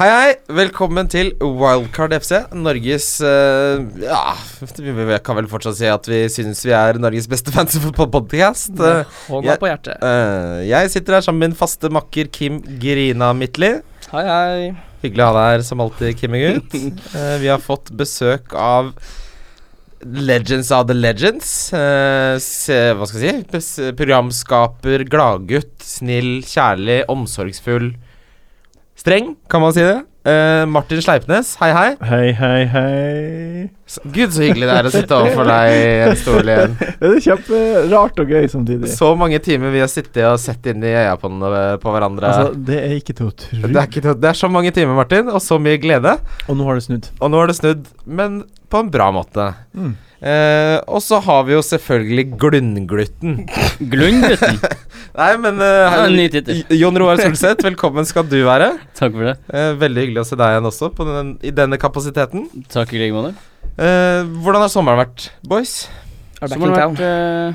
Hei, hei. Velkommen til Wildcard FC. Norges eh, Ja, vi kan vel fortsatt si at vi syns vi er Norges beste fantasyfotballpodcast. Eh, Hånda på hjertet. eh, jeg sitter her sammen med min faste makker Kim Grina Midtly. Hei, hei. Hyggelig å ha deg her som alltid, Kimmegutt. Eh, vi har fått besøk av Legends of the Legends. Eh, se, hva skal jeg si? Pes- Programskaper, gladgutt, snill, kjærlig, omsorgsfull. Streng, kan man si det. Eh, Martin Sleipnes, hei, hei. Hei, hei, hei. S- Gud, så hyggelig det er å sitte overfor deg i en stol igjen. Det er kjemperart og gøy samtidig. Så mange timer vi har sittet og sett inn i øya på, den- eh, på hverandre. Altså, det er ikke til å tro. det, er ikke, til å- det er så mange timer, Martin, og så mye glede. Og nå har det snudd. Og nå har det snudd, men på en bra måte. Mm. Eh, og så har vi jo selvfølgelig Glunnglutten. Glundgutten. Nei, men eh, Ja, en ny tittel. J- Jon Roar Solseth, velkommen skal du være. Takk for det. Eh, veldig hyggelig å se deg igjen også, på den, i denne kapasiteten. Takk i like måte. Eh, hvordan har sommeren vært, boys? Er du back Som in har town? vært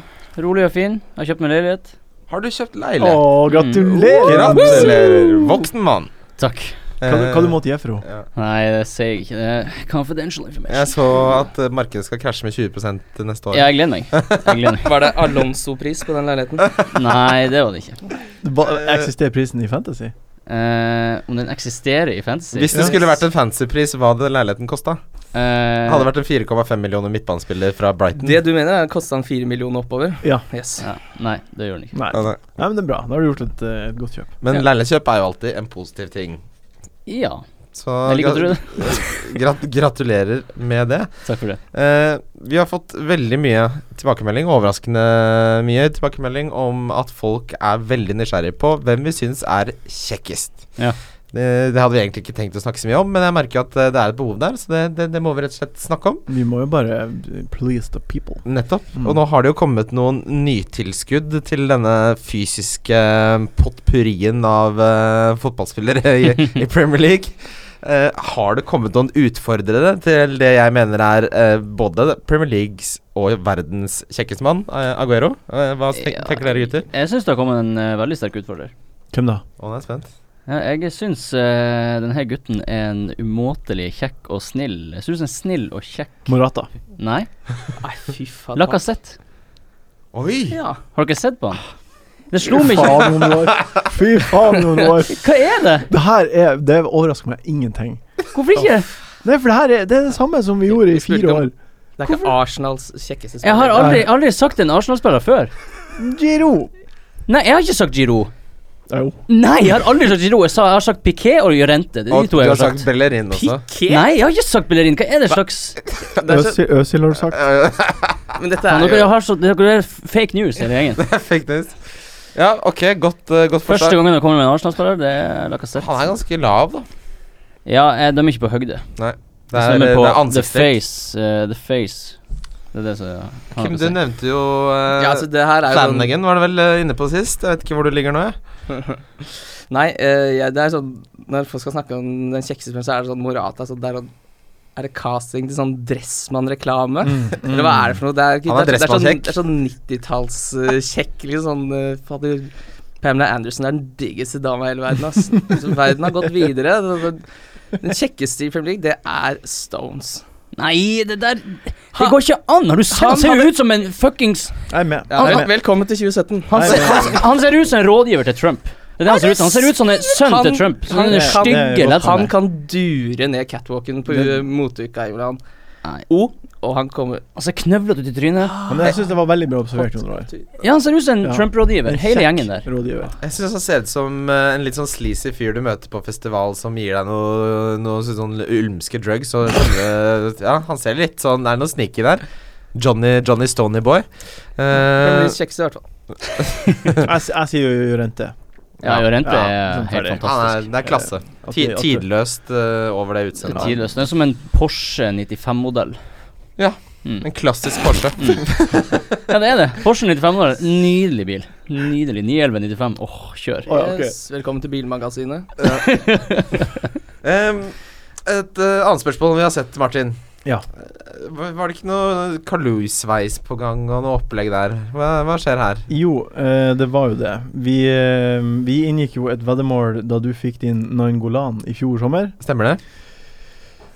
eh, rolig og fin. Jeg har kjøpt meg leilighet. Har du kjøpt Å, leilighet? gratulerer! Mm. Gratulerer, voksen mann. Takk. Hva, Eh, hva du måtte gi for henne? ja. Nei, det sier jeg ikke. Det er confidential Jeg information. så at eh, markedet skal krasje med 20 til neste år. Ja, jeg gleder meg. Jeg gleder meg. Var det Alonso-pris på den leiligheten? Nei, det var det ikke. Eh, Ba- Eksisterer prisen i Fantasy? Eh, om den eksisterer i fantasy Hvis det skulle vært en fancypris, hva hadde leiligheten kosta? Eh, Hadde vært en 4,5 millioner midtbanespiller fra Brighton. Det du mener, er kosta han fire millioner oppover? Ja. Yes. ja, Nei, det gjør den ikke. Nei. Ja, Nei, nei. men det er bra. Da har du gjort et, eh, et godt kjøp. Men Ja. leilighetskjøp er jo alltid en positiv ting. Ja. Så Jeg liker å tro det. Grat gratulerer med det. Takk for det. Eh, vi har fått veldig mye tilbakemelding, overraskende mye tilbakemelding, om at folk er veldig nysgjerrige på hvem vi syns er kjekkest. Ja. Det, det hadde vi egentlig ikke tenkt å snakke så mye om, men jeg merker at eh, det er et behov der, så det, det, det må vi rett og slett snakke om. Vi må jo bare eh, please the people. Nettopp. Mm. Og nå har det jo kommet noen nytilskudd til denne fysiske potpurrien av eh, fotballspillere i, i Premier League. Eh, har det kommet noen utfordrere til det jeg mener er eh, både Premier Leagues og verdens kjekkeste mann, eh, Aguero? Eh, hva tenk, Ja, tenker dere, gutter? Jeg syns det har kommet en eh, veldig sterk utfordrer. Hvem da? Å, nå er jeg spent. Ja, jeg syns eh, denne gutten er en umåtelig kjekk og snill Jeg syns en snill og kjekk Morata. Nei, Nei, fy faen. Lacassette. Oi! Ja. Har dere sett på han? Det Fy slo meg ikke. faen, noen år. Fy faen, noen år. Hva er det? Det her er Det overrasker meg ingenting. Hvorfor ikke? Nei, for det her er det, er det samme som vi gjorde i Spurte fire om- år. Det er ikke Arsenals kjekkeste Jeg har aldri, aldri sagt en Arsenal-spiller før. Giro. Nei, jeg har ikke sagt Giro. Jo. Nei, jeg har aldri sagt Giro. Jeg, sa, jeg har sagt Piquet og Llorente. Det er Og de to du jeg har har sagt. sagt Bellerin også. Piqué? Nei, jeg har ikke sagt Bellerin. Hva er det slags Det er så, Øsil, Øsil har du sagt. men dette Faen, er Dere jo har så, dere er fake news, hele gjengen. Fake news. Ja, ok, godt, eh, godt Første forslag. gangen jeg kommer med en Arsenal-spiller, det er Lacassette. Han er ganske lav, da. Ja, jeg dømmer ikke på høgde. Det er, jeg eh, det dømmer på er the ansiktet. face. eh, the face. Det er det som er Kim, du nevnte jo eh, ja, altså, det her er jo sånn- Flanagan var det vel eh, inne på sist. Jeg vet ikke hvor du ligger nå. jeg. Nei, eh, jeg- det er sånn Når folk skal snakke om den kjekkeste spilleren, så er det sånn Morata. Så det er, sånn, er det casting til sånn Mm. Dressmann-reklame? Eller hva er det for noe? Det er, ikke- Han er det er, det er sånn, Dressmann-kjekk. det er sånn 90-tallskjekk, liksom. Sånn, eh, fader, Pamela Anderson er den diggeste dama i hele verden. Ass. Så verden har gått videre. Det- det- Den kjekkeste i Premier League, det er Stones. Nei, det der Det Han- går ikke an! Har du sett? Han Han ser jo hadde- ut som en fuckings Jeg er med. Ja, Jeg er med. velkommen til 2017. Han Nei, ser, men- han, han ser ut som en rådgiver til Trump. Det er det han ser ut som. Han ser ut som en sønn Han- til Trump. Som han- den han- det er stygge godt. lettene. Han kan dure ned catwalken på Det- u- moteuka i England. Nei. Og, og han Eh, kommer Han ser knøvlete ut i trynet. Ja, Men jeg syns det var veldig bra observert. Jon Roar. Ja, han ser ut som en Ja. Trump-rådgiver. En Hele kjekk gjengen der. Rådgiver. Jeg syns han ser ut som eh, en litt sånn sleazy fyr du møter på festival som gir deg noe, noe sånn ulmske drugs og sånne Ja, han ser litt sånn Det er noe sneaky der. Johnny, Johnny Stony Boy. Den Eh, blir kjekkest i hvert fall. Jeg, s- jeg sier jo Rente. Ja, Jorente Ja, er sånn helt ferdig. han er, fantastisk. det er klasse. At Ti, vi- at- tidløst eh, over det Det er utseendet. Tidløs. Det er som en Porsche 95-modell. Ja. Mm. En klassisk Porsche. Ja, det er det. Porsche 95-modell. Nydelig bil. Nydelig. 911 95. Åh, Å, kjør. ja, ok. yes, velkommen til Bilmagasinet. Em, et eh, annet spørsmål vi har sett, Martin. Ja. Eh, Var var det ikke noe Kalu-sveis på gang og noe opplegg der? Hva, hva skjer her? Jo, eh, det var jo det. Vi, eh, vi inngikk jo et veddemål da du fikk din Nangolan i fjor sommer. Stemmer det?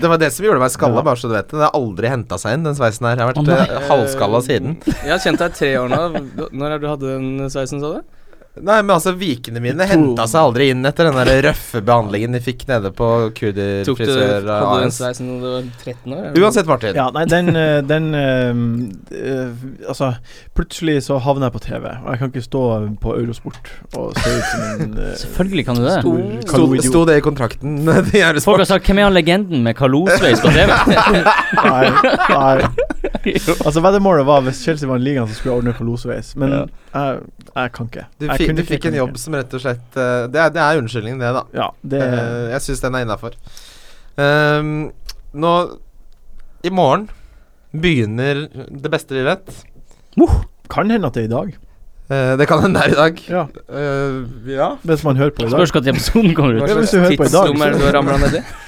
Det var det som gjorde meg skalla, bare så du vet det. Det har aldri henta seg inn, den sveisen her. Jeg har Å, vært nei. eh, halvskalla siden. Jeg har kjent deg i tre år nå. Når er det du hadde den sveisen, sa du? Nei, men altså, vikene mine henta seg aldri inn etter den der røffe behandlingen de fikk nede på Kudir Tok eh, du, frisør hadde du den AS. sveisen da du var 13 år? eller? Uansett, Martin. Ja, nei, den, eh, den eh, eh, Altså, plutselig så havna jeg på TV, og jeg kan ikke stå på Eurosport og se ut som en eh, Selvfølgelig kan du det. stor Sto- Sto, kaloidiot. sto det i kontrakten? Det er Folk har sagt 'Hvem er han legenden med kalosveis på TV?' Nei, nei. Altså, veddemålet var hvis Chelsea vant ligaen, så skulle jeg ordne Kolosveis, men Ja. jeg, jeg kan ikke. Du, Jeg fi, kunne du ikke, fikk jeg en kunne jobb ikke. som rett og slett eh, Det er, det er unnskyldningen, det, da. Ja, det Eh, jeg syns den er innafor. Ehm, nå I morgen begynner det beste vi vet. kan hende at det er i dag, Eh, det kan hende det er i dag. Ja. Eh, ja. hvis man hører på i dag. Spørs når episoden kommer Hva Ja, ut. hvis slags du hører på i dag, tidsrom er det du har ramla ned i?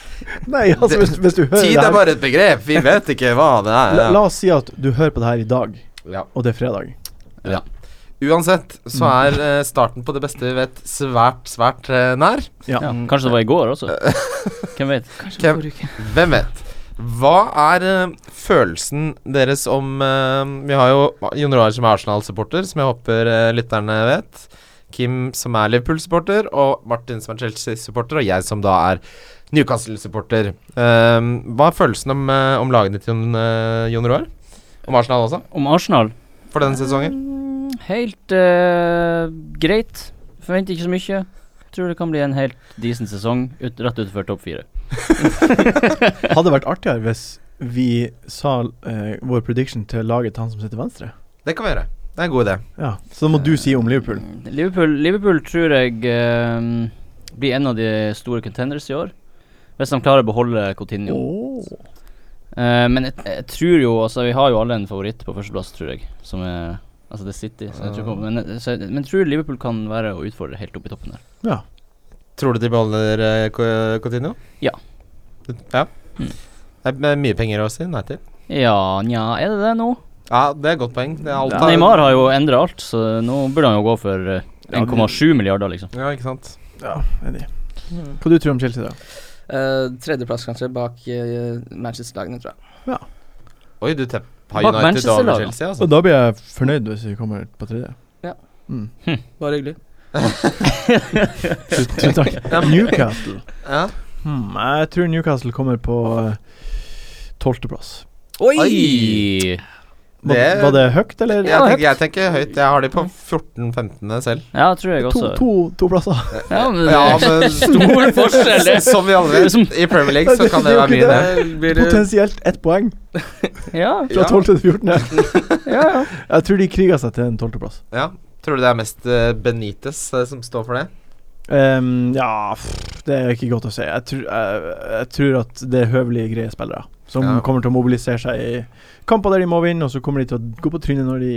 Nei, altså, hvis, hvis du hører Tid det er her bare et begrep. Vi vet ikke hva det er. la, la oss si at du hører på det her i dag, Ja. og det er fredag. Uansett så Mm. er eh, starten på det beste vi vet, svært, svært eh, nær. Ja. Ja, kanskje det var i går også. Hvem vet. Hvem, hvem vet? Hva er eh, følelsen deres om eh, Vi har jo Jon Roar som er Arsenal-supporter, som jeg håper eh, lytterne vet. Kim som er Liverpool-supporter, og Martin som er Chelsea-supporter, og jeg som da er Newcastle-supporter. Eh, hva er følelsen om, eh, om lagene til Jon, eh, Jon Roar? Om Arsenal også, Om Arsenal? for denne sesongen? Mm, Helt eh, greit. Forventer ikke så mye. Tror det kan bli en helt decent sesong ut, rett utenfor topp fire. Hadde vært artigere hvis vi sa eh, vår prediction til laget til han som sitter venstre. Det kan vi gjøre. Det er en god idé. Ja, Så da må du si om Liverpool. Mm, Liverpool, Liverpool tror jeg eh, blir en av de store contenders i år. Hvis de klarer å beholde Coutinho. Eh, men jeg, jeg tror jo altså, Vi har jo alle en favoritt på førsteplass, tror jeg. Som er Altså, det er City. Så jeg tror, Ah. på- men, jeg- så, jeg- men jeg tror Liverpool kan være å utfordre helt opp i toppen der. Ja. Tror du de beholder eh, Co- Coutinho? Ja. Ja. Mm. Det er eh, mye penger å si nei til. Ja, nja, er det det nå? Ja, det er et godt poeng. Det er alt Ja. Neymar har jo endra alt, så nå burde han jo gå for eh, Ja, 1,7 milliarder, liksom. Ja, ikke sant. ja enig. Mm. Hva du tror om Chelsea, da? Eh, tredjeplass, kanskje, bak eh, Manchester-lagene, tror jeg. Oi, du teppa Bak United over Manchester-laget. Chelsea, altså. Og da blir jeg fornøyd hvis vi kommer på tredje. Ja. Mm. Bare hyggelig. Tusen tusen takk. Newcastle. Ja. Hmm, jeg tror Newcastle kommer på eh, tolvteplass. Oi! Oi! Var, Det- var det høyt, eller? Jeg, tenker, jeg tenker høyt. Jeg har de på 14-15 selv. Ja, tror jeg To, også. to, to plasser. Ja, men, Ja, men Stor forskjell, det. Som vi alle vet, i Premier League så kan det være mye, det. Der Eh, blir det Potensielt ett poeng ja, fra Ja. tolv til fjortende. ja, ja. Jeg tror de kriga seg til en tolvteplass. Ja. Tror du det er mest eh, Benitez eh, som står for det? Ehm, ja, pff, det er ikke godt å si. Jeg, tror- jeg, jeg tror at det er høvelige, greie spillere som Ja. kommer til å mobilisere seg i kamper der de må vinne, og så kommer de til å gå på trynet når de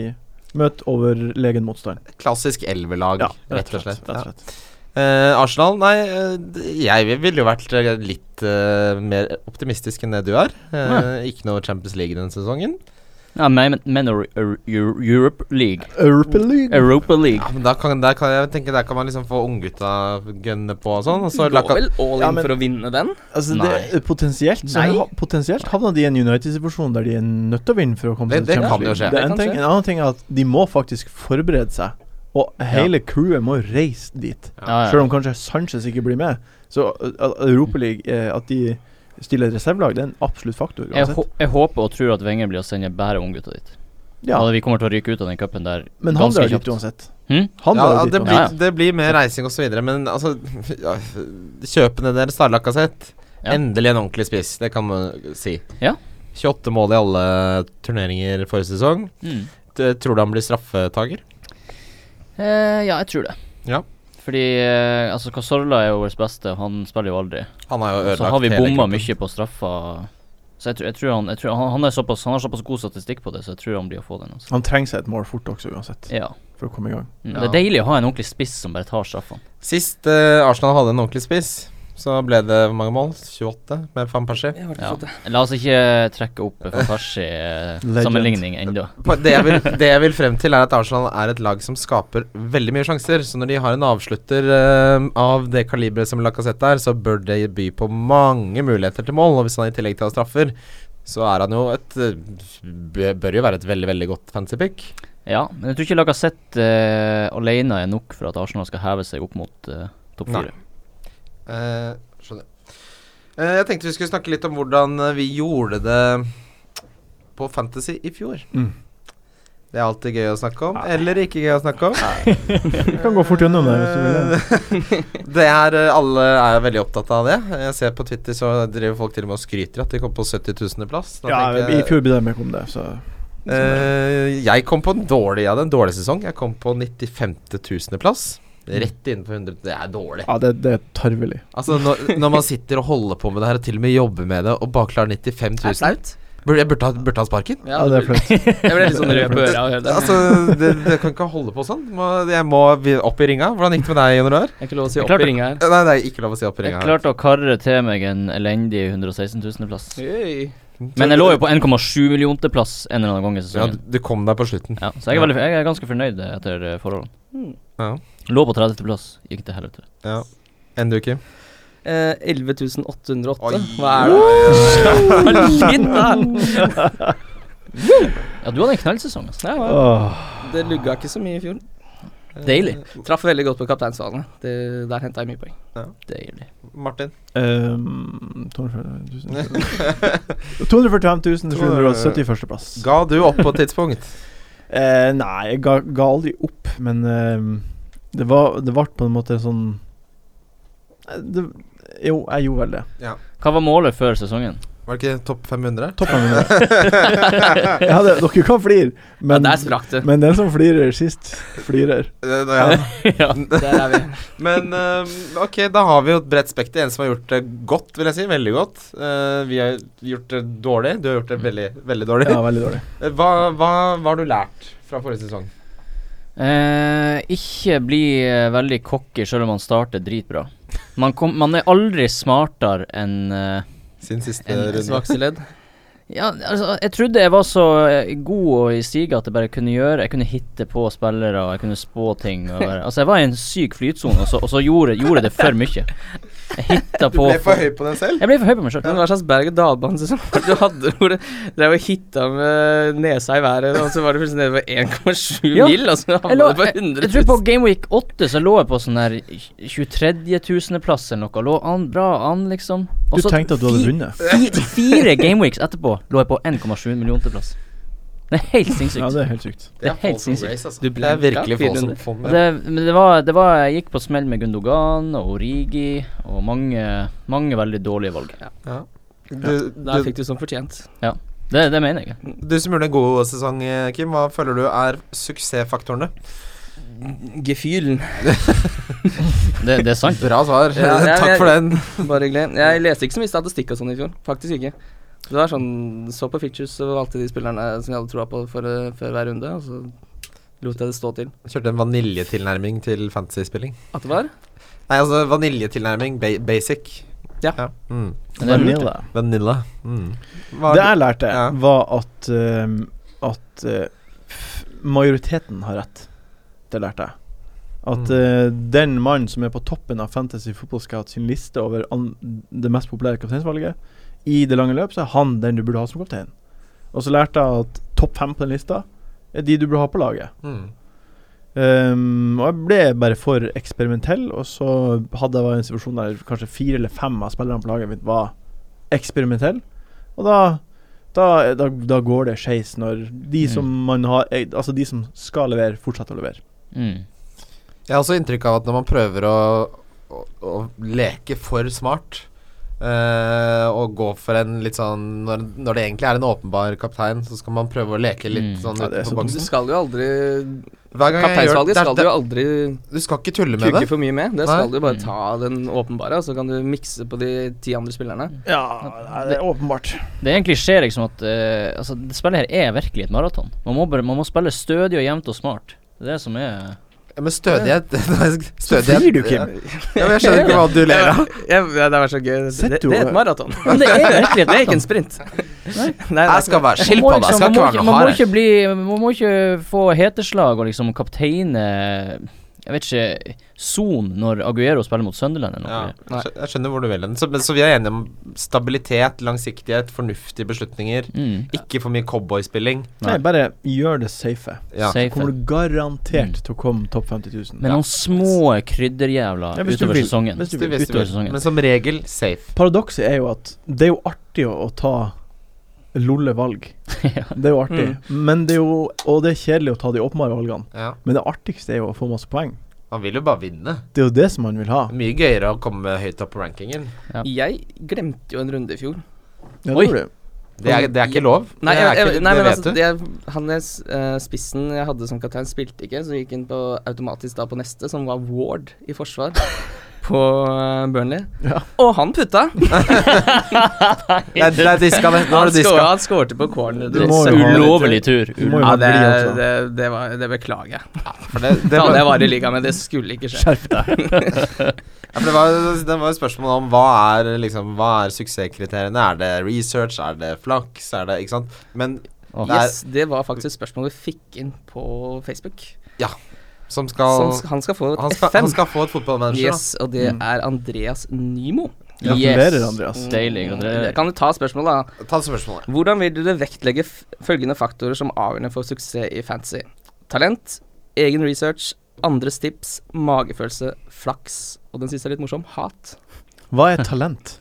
møter overlegen motstand. Klassisk elverlag, rett og slett. Rett og Ja. slett. Eh, Arsenal, nei eh, d- Jeg ville jo vært eh, litt eh, mer optimistisk enn det du er. Eh, ikke noe Champions League denne sesongen. ja men, men Euro- Euro- Europe League. Europa League. Europa League. Ja, men da kan, der kan jeg tenke Der kan man liksom få unggutta gønne på og sånn. Og så Går la- vel all in Ja, men- for å vinne den? Altså, Nei. det, potensielt så Nei. ha, Potensielt havner de i en United-situasjon der de er nødt til å vinne for å komme Det- til det kan Champions jo skje. League. Det Det er en, kan ting. skje. en annen ting er at de må faktisk forberede seg, og hele crewet må reise dit. Ja, ja. Selv om kanskje Sanchez ikke blir med. Så uh, Europaligaen, eh, at de stiller et reservelag, det er en absolutt faktor. Jeg, Uansett. hå- jeg håper og tror at Wenger blir å sende bare unggutta dit. Ja, Og vi kommer til å ryke ut av den cupen der men han ganske drar dit kjapt. uansett. Hm? Han ja, drar ja, dit det, uansett. blir, Ja, ja. det blir mer reising og så videre men altså ja, Kjøpene deres, da, Lacassette. Ja. Endelig en ordentlig spiss, det kan man si. Ja. 28 mål i alle turneringer forrige sesong. Mm. Det, tror du han blir straffetaker? Eh, ja, jeg tror det. Ja. Fordi eh, altså Casorla er jo vårt beste, og han spiller jo aldri. Han har jo ødelagt Så Altså, har vi hele bomma kroppen. mye på straffa. Så jeg tror, jeg tror, han, jeg tror han, han, er såpass, han har såpass god statistikk på det, så jeg tror han blir å få den. Altså. Han trenger seg et mål fort også, uansett, Ja. for å komme i gang. Mm. Ja. Det er deilig å ha en ordentlig spiss som bare tar straffene. Sist eh, Arsenal hadde en ordentlig spiss, Så ble det hvor mange mål? 28 med Fampashi. Jeg har ikke Ja. fått det. La oss ikke trekke opp eh, Legend. Fantashi-sammenligning ennå. På- Det jeg, vil, det jeg vil frem til, er at Arsenal er et lag som skaper veldig mye sjanser. Så når de har en avslutter eh, av det kaliberet som Lacassette er, så bør det by på mange muligheter til mål. Og hvis han i tillegg tar straffer, så er han jo et eh, b- Bør jo være et veldig, veldig godt fancy pick. Ja, men jeg tror ikke Lacassette uh, alene er nok for at Arsenal skal heve seg opp mot eh, topp Nei. fire. Eh, skjønner. Eh, jeg tenkte vi skulle snakke litt om hvordan eh, vi gjorde det på Fantasy i fjor. Mm. Det er alltid gøy å snakke om, eller ikke gøy å snakke om. Vi kan gå fort gjennom det. hvis du vil det. Det er, eh, Alle er veldig opptatt av det. Jeg ser på Twitter så driver folk til og med og skryter at de kom på 70 000. plass. Da Ja, tenker I jeg- fjor ble det med om det, så Eh, jeg kom på en dårlig Jeg hadde en dårlig sesong. Jeg kom på 95 000. plass. Mm. Rett innenfor 100 Det er dårlig. Ja, det, det er tarvelig. Altså når, når man sitter og holder på med det her og til og med jobber med det og bare klarer 95 Det er 000 flaut. Burde jeg burde ha, burde ha sparken? Ja, det er blir- flaut. Jeg ble litt sånn rød på øra av å høre det. Altså, det, det kan ikke holde på sånn. Må, jeg må vi- opp i ringa. Hvordan gikk det med deg, Jon Roar? Det er ikke lov å si Jeg opp klarte- i ringa her. Nei, det er ikke lov å si opp i Jeg ringa. her. klarte å karre til meg en elendig 116 000.-plass. Oi. Men jeg lå jo på 1,7 millionte-plass en eller annen gang i Ja, sesongen. du, du kom deg på slutten. Ja, så jeg er, veldig, jeg er ganske fornøyd eh, etter eh, forholdene. Hmm. Ja. Lå på 30.-plass, gikk til helvete. ja. Enn du, Kim? Eh, 11.808. Oi. Hva er det? Shit, da! Ja, du hadde en knallsesong. Altså. Ja, ja. Åh, det lugga ikke så mye i fjor. Deilig. Traff veldig godt på kapteinsvalene. Det- Der henta jeg mye poeng. Deilig. Martin? ehm, 240 000 245 771. plass. Ga du opp på et tidspunkt? Eh, nei, jeg ga, ga aldri opp, men ehm, det var Det ble på en måte sånn Eh, det, Jo, jeg gjorde vel det. Hva var målet før sesongen? Var det ikke topp 500? Toppen min. jeg hadde, dere kan flire, men, ja, der sprakk det. men den som flirer sist, flirer. Eh, Ja. ja. Der er vi. Men eh, ok, da har vi jo et bredt spekter. En som har gjort det godt, vil jeg si. Veldig godt. Eh, vi har gjort det dårlig. Du har gjort det veldig, veldig dårlig. Ja, veldig dårlig. Eh, Hva, hva, hva har du lært fra forrige sesong? Eh, ikke bli eh, veldig cocky selv om man starter dritbra. Man, kom, man er aldri smartere enn eh, Sin siste En runde. Svakeste ledd. Ja, altså, jeg trodde jeg var så eh, god og i stiga at jeg bare kunne gjøre Jeg kunne hitte på spillere, og jeg kunne spå ting. Og bare, altså, jeg var i en syk flytsone, og så, og så gjorde, gjorde jeg det for mye. Jeg hitta på høy på den selv? Jeg ble for høy på meg sjøl. Men hva slags berg-og-dal-bane-sesong var det du hadde hvor du drev og hitta med nesa i været, og så var du plutselig nede på 1,7 Ja. mil, og så Jeg, havna lå, du på jeg, 100 jeg tror på Gameweek 8 så lå jeg på sånn der 23 000.-plass eller noe. Lå an, bra an, liksom. Og Du så tenkte at du fi- hadde vunnet. Fire, fire Gameweeks etterpå lå jeg på 1,7 millionte-plass. Det er helt sinnssykt. Ja, det er helt sykt. Det er helt sinnssykt. Altså. Du Det er virkelig få blinka som fire får Og med. Det, men det var, det var Jeg gikk på smell med Gundogan og Origi og mange, mange veldig dårlige valg. Der Du, fikk du som fortjent. Det, det mener jeg. du, du som gjorde en god sesong, eh, Kim, hva føler du er suksessfaktorene? Gefühlen. Det, det er sant. Bra svar. Ja, jeg- Takk for den. Bare hyggelig. Jeg leste ikke så mye statistikk og sånn i fjor. Faktisk ikke. Det var sånn Så på features og valgte de spillerne som jeg hadde troa på for, eh, før hver runde, og så lot jeg det stå til. Kjørte en vaniljetilnærming til fantasyspilling. At det var? Nei, altså vaniljetilnærming, ba basic. Ja. Mm. Men det er lurt, Vanilla. Vanilla. Mm. Hva Det jeg lærte, Ja. var at ehm, At eh, f- majoriteten har rett. Det lærte jeg. At Mm. eh, den mannen som er på toppen av Fantasy Football Scout sin liste over an det mest populære kapteinsvalget, i det lange løp, så er han den du burde ha som kaptein. Og så lærte jeg at topp fem på den lista er de du burde ha på laget. Mm. Ehm, og jeg ble bare for eksperimentell, og så hadde jeg var i en situasjon der kanskje fire eller fem av spillerne på laget mitt var eksperimentelle. Og da, da, da, da går det skeis når de Mm. som man har Altså de som skal levere, fortsetter å levere. Mm. Jeg har også inntrykk av at når man prøver å, å, å leke for smart eh, og gå for en litt sånn når, når det egentlig er en åpenbar kaptein, så skal man prøve å leke litt Mm. sånn Ja, det er utenfor så Du boksen. skal jo aldri Hver gang jeg gjør det, Kapteinsvalget det, skal er- du det, jo aldri du skal ikke tulle med kukke det. for mye med. Det Nei. skal du bare Mm. ta den åpenbare, og så kan du mikse på de ti andre spillerne. Ja, nei, det er åpenbart. Det er en klisjé liksom at eh, altså, det spillet her er virkelig et maraton. Man, må bare- man må spille stødig og jevnt og smart. Det er det som er Ja, men stødighet Stødighet frir du, Kim. Ja, men jeg skjønner ikke hva du ler av. Ja, ja, det var så gøy. Det, Sett det, jo- er et maraton. Men det er virkelig et Det er ikke maraton. en sprint. Nei. Nei, Jeg skal være skilt Man på må det. Jeg skal liksom- ikke være man må ikke- noe Man må hard. ikke bli Man må ikke få heteslag og liksom kapteine Jeg vet ikke Son når Aguero spiller mot Sunderland eller Ja, noe. jeg skjø- jeg skjønner hvor du vil hen. Så, men- så vi er enige om stabilitet, langsiktighet, fornuftige beslutninger. Mm. Ikke for mye cowboyspilling. Nei, bare gjør det safe. Ja. Safe. Kommer du garantert Mm. til å komme topp 50 000. Men noen små krydderjævler Ja, hvis du utover vil. sesongen. Hvis du Hvis du vil, hvis du Utover vil. sesongen. Men som regel safe. Paradokset er jo at det er jo artig å, å ta lolle valg. Ja. Det er jo artig. Mm. Men det er jo, og det er kjedelig å ta de åpenbare valgene. Ja. Men det artigste er jo å få masse poeng. Man vil jo bare vinne. Det er jo det som man vil ha. Det er Mye gøyere å komme høyt opp på rankingen. Jeg glemte jo en runde i fjor. Ja, det Oi. gjorde du. Det er, det er ikke lov. Nei, det, er jeg, jeg, ikke, nei det men vet altså, du. det, han jeg, s- eh, spissen jeg hadde som kaptein, spilte ikke, så gikk han på, automatisk da på neste, som var Ward i forsvar på eh, Burnley. Ja. Og han putta! Nei, det er diska, det. Nå er det Han, skåret, diska. han skårte på corner. Det er Du må jo ha- Ulovlig tur. Du må jo Ja, ha det, blid også. det, det, var, det beklager jeg. For det, det Det var, hadde jeg vært i ligaen, men det skulle ikke skje. ja, for det var, det var jo spørsmålet om hva er, liksom, hva er suksesskriteriene. Er det research? Er det flaks? Er det Ikke sant? Men Åh. Nei. Yes, det var faktisk et spørsmål vi fikk inn på Facebook. som Så han skal sk- han skal få Han et skal, han F5. skal få et fotballmanager. Yes, og det Mm. er Andreas Nymo. Mm. Gratulerer, Andreas. Deilig. Gratulerer. Kan du ta spørsmålet, da? da. Ta spørsmålet. Hvordan vil du vektlegge f følgende faktorer som avgjørende for suksess i fantasy? Talent, egen research, andres tips, magefølelse, flaks og den siste er litt morsom hat. Hva er talent?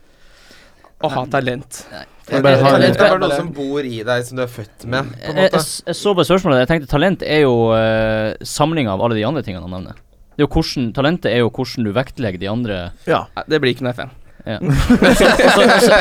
Å ha talent. Jeg bare har- Det er bare noe som bor i deg, som du er født med. På en Jeg, måte. jeg, jeg så på spørsmålet. Jeg tenkte talent er jo uh, samlinga av alle de andre tingene han nevner. Det er jo hvordan, talentet er jo hvordan du vektlegger de andre Ja. Nei, Det blir ikke noe FN. ja. så, så,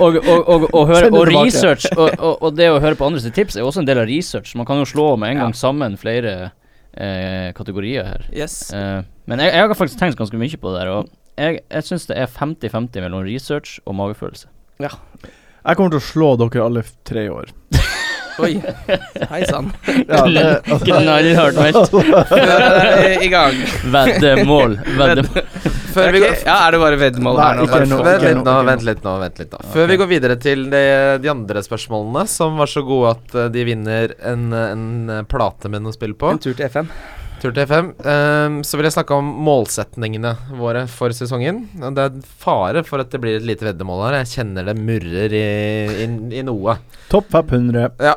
og, og, og, og, høre, Send det og tilbake. research og, og, og det å høre på andres tips er jo også en del av research. Man kan jo slå med en gang sammen flere eh, kategorier her. Yes. Eh, men jeg, jeg har faktisk tenkt ganske mye på det her. Og jeg, jeg syns det er 50-50 mellom research og magefølelse. Jeg kommer til å slå dere alle f- tre i år. Oi. Hei sann. Ja, det- Knallhardt meldt. I gang. Veddemål. Veddemål. Før vi Ok, går Ja, er det bare veddemål Nei, her nå? ikke Bare nå, få- Vent ikke litt nå, ok, nå. vent litt nå. vent litt nå Før vi går videre til de, de andre spørsmålene, som var så gode at eh, de vinner en, eh, en eh, plate med noe spill på, En tur til FM. tur til FM, ehm, så vil jeg snakke om målsetningene våre for sesongen. Og Det er fare for at det blir et lite veddemål her. Jeg kjenner det murrer i, i, i noe. Topp 500. Ja.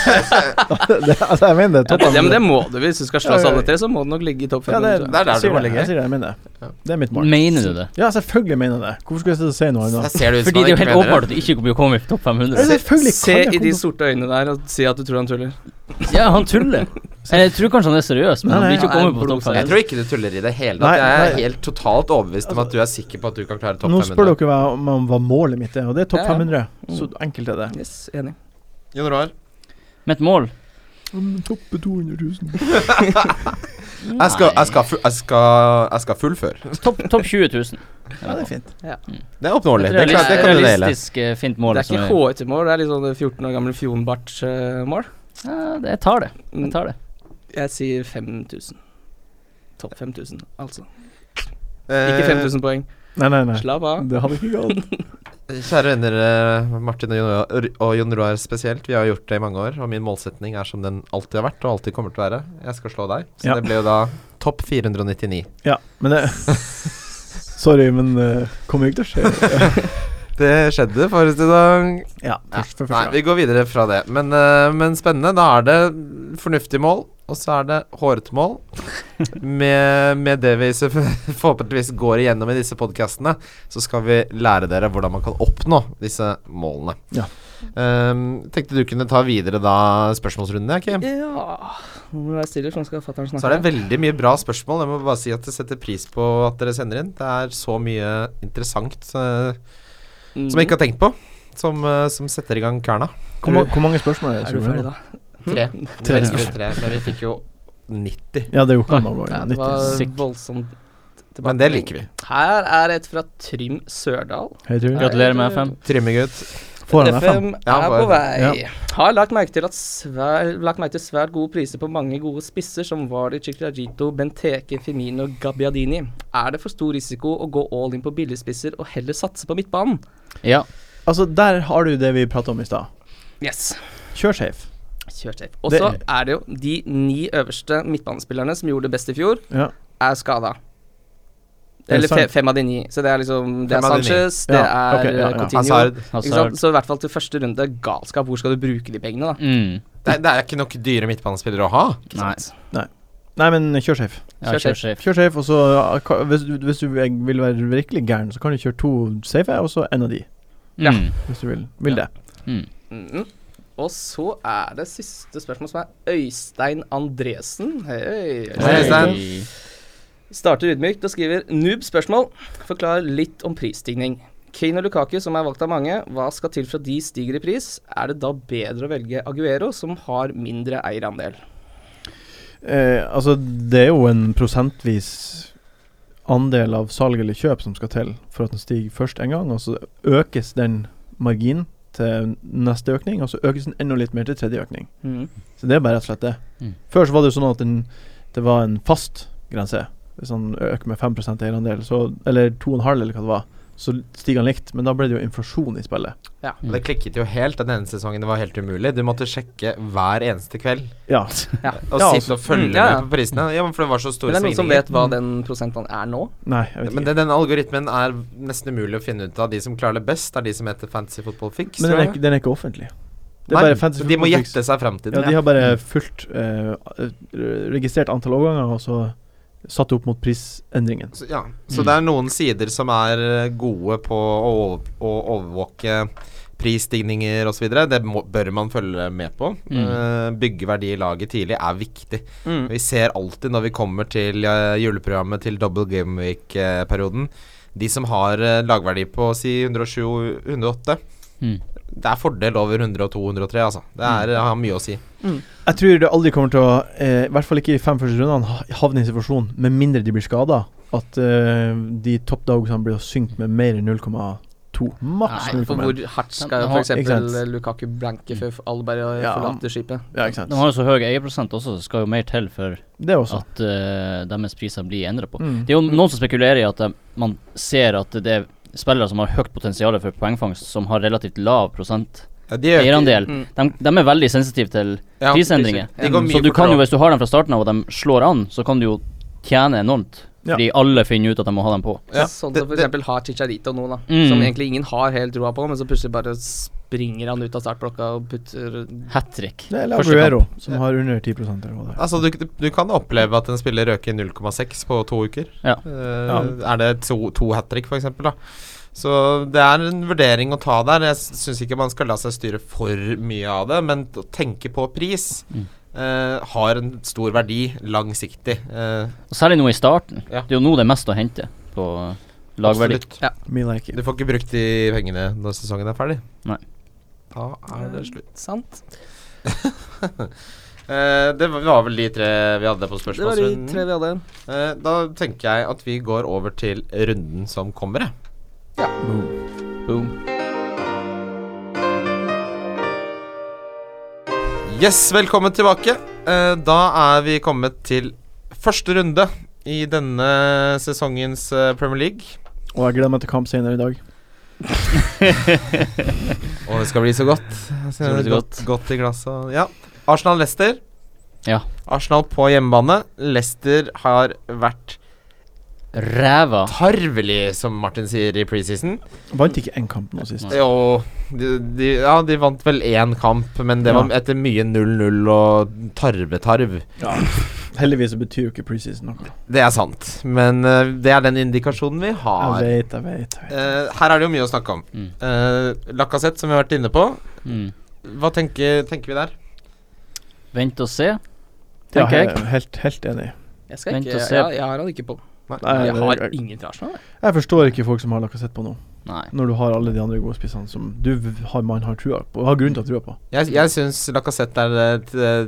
det, altså, jeg mener det. Ja, Topp men 500. det må du. Hvis du skal slå oss alle tre, så må du nok ligge i topp Ja, 500. tror jeg. Det er der jeg du må sier det. ligge. Jeg sier det, jeg mener det. Ja. Det er mitt mål. Mener du det? Ja, selvfølgelig mener jeg det. Hvorfor skulle jeg sitte og si noe Der annet? ser det ut som Fordi han det er jo ikke helt mener åpenbart at du ikke blir å komme i topp 500. Selvfølgelig kan Se jeg i komme de til- sorte øynene der og si at du tror han tuller. Ja, han tuller. Jeg tror kanskje han er seriøs, men Nei, han nei, blir ikke å han er komme på topp blodfan. Jeg 500. tror ikke du tuller i det hele Nei, tatt. Jeg er nei. helt totalt overbevist om at du er sikker på at du kan klare topp Nå spør 500. dere hva- om om hva målet mitt er, og det er topp Ja, ja. 500. Mm. Så enkelt er det. Yes, enig. Jon Roar? Mitt mål Toppe 200 000. Jeg skal, jeg, skal, fu- jeg, skal, jeg skal fullføre. Nei. Topp topp 20 000. Ja, det er fint. Det er oppnåelig. Et Det, er klart, det realist- kan du dele. realistisk eh, fint mål. Det er som ikke HT-mål, det er litt sånn 14 år gamle Fjonbart-mål. Ja, det- jeg tar det. Jeg tar det. Jeg sier 5000. Topp 5000, altså. Ikke 5000 poeng. Nei, nei, nei. Slapp av. Det hadde ikke gått. Eh, Kjære venner, eh, Martin og Jon Roar- og Jon Roar spesielt. Vi har gjort det i mange år, og min målsetning er som den alltid har vært, og alltid kommer til å være. Jeg skal slå deg. Så Ja. det ble jo da topp 499. Ja, men det Sorry, men eh, kommer jo ikke til å skje. Det skjedde forrige dag. Ja, først for Nei, første gang. vi går videre fra det. Men, eh, men spennende. Da er det fornuftig mål, og så er det hårete mål. Med, med det vi så forhåpentligvis går igjennom i disse podkastene, så skal vi lære dere hvordan man kan oppnå disse målene. Ja. Ehm, tenkte du kunne ta videre da spørsmålsrunden, ja, Kim? Ja Nå må du være stille, for nå skal fatter'n Så er det snakke. veldig mye bra spørsmål. Jeg må bare si at jeg setter pris på at dere sender inn. Det er så mye interessant eh, Mm. som jeg ikke har tenkt på, som, eh, som setter i gang kverna. Hvor, ma- hvor mange spørsmål er det? Er du som ferdig, er? da? Tre. Tre. Tre. Men vi fikk jo 90. Ja, det er jo ikke noe å gå Ja, i. det var 90. voldsomt. tilbake. Men det liker vi. Her er et fra Trym Sørdal. Hei, Trym. Gratulerer med FM. Trymmegutt. Får han FM? FM Ja, er bare- på vei. ja. Har lagt merke til at svær, lagt merke til svært gode priser på mange gode spisser, som Vardi, Chiclarito, Benteke, Femino og Gabbiadini. Er det for stor risiko å gå all in på billigspisser og heller satse på midtbanen? Ja. Altså, der har du det vi prata om i stad. Yes. Kjør safe. Kjør safe. Og så Det- er det jo de ni øverste midtbanespillerne som gjorde det best i fjor, Ja. er skada. er Eller fe sant. fem av de ni. Så det er liksom Det er Fem av de ni. Sanchez, det Ja, er ok, ja, ja. eh, Coutinho. Hazard. Ikke Altså, sant? Så i hvert fall til første runde, galskap. Hvor skal du bruke de pengene, da? mm. Det, er- det er ikke nok dyre midtbanespillere å ha. Ikke Nei. sant? Nei, men kjør safe. Ja, Kjør kjør safe. safe. Kjør safe, og så ja, ka- hvis, du- hvis du vil være virkelig gæren, så kan du kjøre to safe, og så en av de, Ja. Mm. hvis du vil, vil det. Mm. Mhm. Og så er det siste spørsmål, som er Øystein Andresen. Hei, Øystein. Hei, Øystein. Starter ydmykt og skriver Noob spørsmål. Forklar litt om prisstigning. Kane og Lukaku, som er valgt av mange, hva skal til for at de stiger i pris? Er det da bedre å velge Aguero, som har mindre eierandel? Eh, altså, det er jo en prosentvis andel av salg eller kjøp som skal til for at den stiger først en gang, og så økes den marginen til neste økning, og så økes den enda litt mer til tredje økning. Mhm. Så det er bare rett og slett det. Mm. Før så var det jo sånn at den, det var en fast grense. Hvis han øker med 5 eierandel, så, eller 2,5 eller hva det var, så stiger han likt. Men da ble det jo inflasjon i spillet. Og det klikket jo helt den ene sesongen. Det var helt umulig. Du måtte sjekke hver eneste kveld. Ja. Og Ja, sitte og følge Mm, ja, ja. med på prisene. Ja, men for det var så Men store det er noen som svingninger. vet hva den prosenten er nå? Nei, jeg Men vet ikke. den, den algoritmen er nesten umulig å finne ut av. De som klarer det best, er de som heter Fantasy Football Fix. Men den tror er, jeg. ikke- den er ikke offentlig. Det er Nei, bare fantasy så de må football fix. gjette seg frem til Ja, den. de har bare fulgt eh, registrert antall avganger, og så satt opp mot prisendringen. Så, ja. så Mm. det er noen sider som er eh, gode på å, ov- å overvåke prisstigninger osv. Det må, bør man følge med på. Mm. Eh, bygge verdi i laget tidlig er viktig. Mhm. Vi ser alltid når vi kommer til eh, juleprogrammet til double game week-perioden De som har eh, lagverdi på si 107 og 108 Mm. Det er fordel over 102 og 103, altså. Det er, har mye å si. Jeg tror det aldri kommer til å, eh, i hvert fall ikke i fem første rundene, ha- havne i en situasjon, med mindre de blir skada, at eh, de toppdagsene blir å synke med mer enn 0,2. Maks Nei, for 0,1. hvor hardt skal Ja, f.eks. ikke sant. Lukaku blanke før Alberg Ja. forlater skipet? Ja, ikke sant. De har jo så høy eierprosent også, så det skal jo mer til for Det også. at eh, deres priser blir endra på. Mm. Det er jo noen som spekulerer i at eh, man ser at det er spillere som har høyt potensial for poengfangst, som har relativt lav prosent Ja, de øker- eierandel. Mm. De, de er veldig sensitive til Ja, prisendringer. Mm. de går mye Så du kan jo, fortere hvis du har dem fra starten av og de slår an, så kan du jo tjene enormt. Ja. Fordi alle finner ut at de må ha dem på. opp. Ja, Sånn det- som for det- eksempel har Chicharito nå, da. Mm. Som egentlig ingen har helt troa på, men så plutselig bare springer han ut av startblokka og putter Hat trick. Det er Første Laguero, som har under 10 eller hva det er. Altså, du, du, du kan oppleve at en spiller røker 0,6 på to uker. Ja. Eh, Er det to, to hat trick, f.eks.? da Så det er en vurdering å ta der. Jeg syns ikke man skal la seg styre for mye av det, men å tenke på pris Mm. eh, har en stor verdi langsiktig. Eh, Og særlig nå i starten. Ja. Det er jo nå det er mest å hente på eh, lagverdi. absolutt. Me like it. Du får ikke brukt de pengene når sesongen er ferdig. Nei. Da er det slutt. Sant. Eh, det var- var vel de tre vi hadde på Det var de spørsmålsrunden. tre vi hadde. Eh, da tenker jeg at vi går over til runden som kommer, jeg. Boom. Boom. Yes, velkommen tilbake. Eh, da er vi kommet til første runde i denne sesongens eh, Premier League. Og jeg gleder meg til kamp senere i dag. Og det skal bli så godt. skal bli så godt. godt i glasset. og- Ja. Arsenal-Lester. Ja. Arsenal på hjemmebane. Lester har vært Ræva. tarvelig, som Martin sier i preseason. Vant ikke én kamp nå sist. Nei. Jo, de, de, ja, de vant vel én kamp, men det Ja. var etter mye 0-0 og tarvetarv. Heldigvis så betyr jo ikke preseason noe. Det er sant, men eh, det er den indikasjonen vi har. Jeg vet, jeg vet. Jeg vet. Eh, her er det jo mye å snakke om. Mm. Eh, Lacassette, som vi har vært inne på. Mm. Hva tenker, tenker vi der? Vent og se. Ja, tenker jeg. he- helt, helt enig. Jeg skal Vent ikke og jeg, se. jeg har han ikke på. Nei, jeg det- har jeg- ingen fra Arsenal. jeg. Jeg forstår ikke folk som har lagt sett på nå, Nei. når du har alle de andre gode spissene som du v- har, man har trua på, har grunn til å ha trua på. Jeg, jeg syns Lacassette er et eh,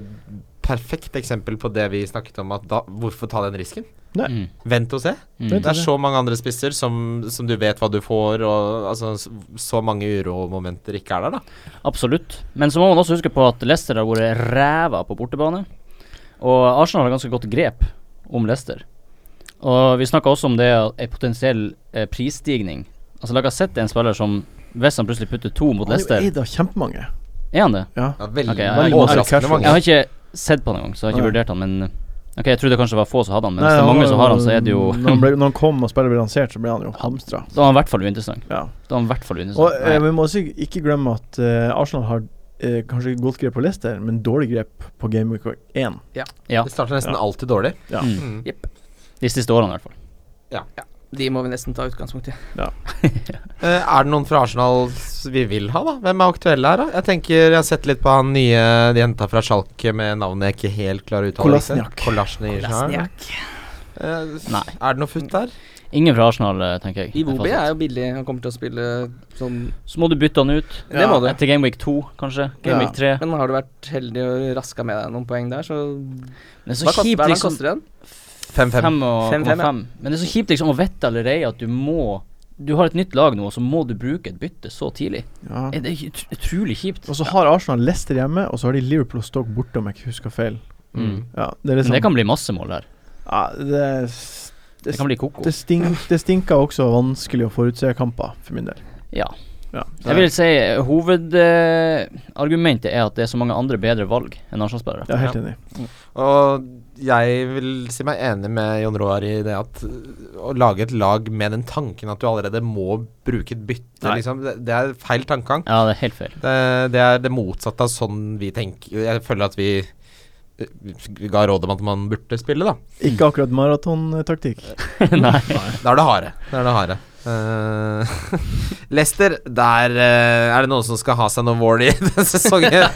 perfekt eksempel på det vi snakket om. At da, hvorfor ta den risken? Nei. Mm. Vent og se. Mm. Vent. Det er så mange andre spisser som, som du vet hva du får, og altså, s- så mange uromomenter ikke er der, da. Absolutt. Men så må man også huske på at Leicester har vært ræva på bortebane. Og Arsenal har ganske godt grep om Leicester. Og vi snakka også om det at en potensiell eh, prisstigning. Altså Lagassette er en spiller som hvis han plutselig putter to mot Han er jo Leicester eid av kjempemange. Er han det? Ja. Ja, veldig Ok, jeg- veldig jeg- overraskende Jeg har mange. ikke sett på han engang, så jeg har ikke Nei. vurdert han, men eh, Ok, jeg trodde kanskje det var få som hadde han, men Nei, hvis det er han var mange som har han, så er det jo når, han ble, når han kom og spillet ble lansert, så ble han jo hamstra. Da er han i hvert fall uinteressant. Ja. Da er han i hvert fall Og uinteressant. eh, vi må også ikke glemme at eh, Arsenal har eh, kanskje godt grep på Leicester, men dårlig grep på Game Week 1. Ja. Det starter nesten alltid dårlig. Ja. Mm. Mm. De siste årene, i hvert fall. De må vi nesten ta utgangspunkt i. Eh, er det noen fra Arsenal s- vi vil ha, da? Hvem er aktuelle her, da? Jeg tenker, jeg har sett litt på han nye de jenta fra Schalke med navnet jeg ikke helt klarer å uttale. Kolasniak. Kolasjnik. Kolasniak. Nei. Eh, Er det noe futt der? Ingen fra Arsenal, eh, tenker jeg. Iwobi er jo billig. Han kommer til å spille sånn Så må du bytte han ut. Det må du. Etter Gameweek 2, kanskje. Gameweek 3. Men har du vært heldig og raska med deg noen poeng der, så Men det er Hva så kost- kjipt hva er det han liksom koster igjen? 5-5. Fem og- Fem, fem, ja. komma fem. Men det er så kjipt liksom å vite allerede at du må Du har et nytt lag nå, og så må du bruke et bytte så tidlig. Ja. Det er ut- utrolig kjipt. Og så har Arsenal Leicester hjemme, og så har de Liverpool og Stoke borte, om jeg ikke husker feil. Mm. Ja, det er Men liksom det kan bli masse mål der. ja, det, s- det, Det kan bli koko. det, stink, det stinker også vanskelig å forutse kamper, for min del. Ja. Ja, så Jeg vil si eh, hovedargumentet er at det er så mange andre bedre valg enn Arsenal-spillere. jeg er helt enig. Og jeg vil si meg enig med Jon Roar i det at øh, å lage et lag med den tanken at du allerede må bruke et bytte, Nei. liksom, det, det er feil tankegang. Ja, det er helt feil. Det, det er det motsatte av sånn vi tenker Jeg føler at vi øh, ga råd om at man burde spille, da. Ikke akkurat maratontaktikk. Nei. Da er det harde. Da er det harde. Eh, Lester, der eh, er det noen som skal ha seg noe vål i denne sesongen.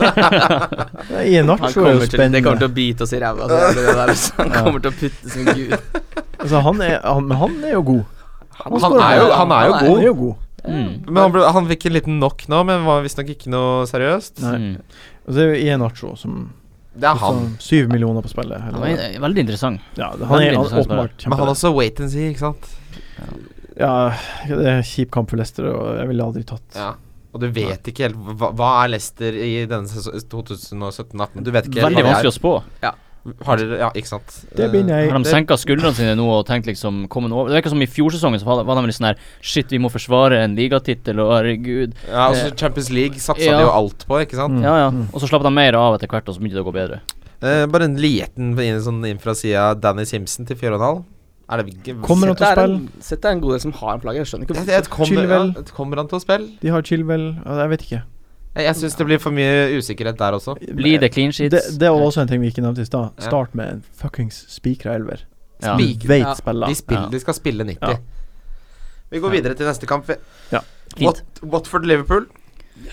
Han Ienacho er jo kommer til, det kommer spennende. til å bite oss i ræva. så jævlig det der, altså. Han Ja. kommer til å putte som en gud. Altså, han er, han, men han er jo god. Han er jo- han er jo Han er jo god. Mm. men han, ble, han fikk en liten knock nå, men var visstnok ikke noe seriøst. Nei. Mm. Og så er jo Ienacho som Det er han. som Syv millioner på spillet. Han Eller? var Ja, en- eh, veldig interessant. det- han er Veldig han er interessant spiller. åpenbart Men han kjempebra. også wait and see, ikke sant? Ja, det er en kjip kamp for Leicester, og jeg ville aldri tatt Ja. Og du vet ikke helt hva, hva er Leicester i denne seso- 2017-18? Du vet ikke hva Veldig de vanskelig å spå. er. Har dere Ja, ikke sant. Det begynner jeg Har de senka skuldrene sine nå og tenkt liksom komme noe over? Det virker som i fjorsesongen så var det- var de litt sånn her Shit, vi må forsvare en ligatittel, og herregud. Eh, Ja, og så Champions League satsa Ja. de jo alt på, ikke sant? Mm. Ja, ja. Mm. Og så slapp de mer av etter hvert, og så begynte det å gå bedre. Eh, bare en liten inn- sånn inn fra sida Danny Simpson til 4,5. Er det ikke Kommer han til å Sett deg en- spille? Sett deg en god del som har en plage. Jeg skjønner ikke Jeg- hvorfor. jeg- kommer, ja, Chilwell. kommer han til å spille? De har Chilwell ja, Jeg vet ikke. Jeg, jeg syns det blir for mye usikkerhet der også. Blir det clean sheets? Det, det var også en ting vi ikke nevnte i stad. Ja. Start med en fuckings spikra elver. Ja. Spi- Du veit Ja. spiller. De, spiller, Ja. de skal spille 90. Ja. Vi går videre til neste kamp. vi. Ja. Wat Watford-Liverpool.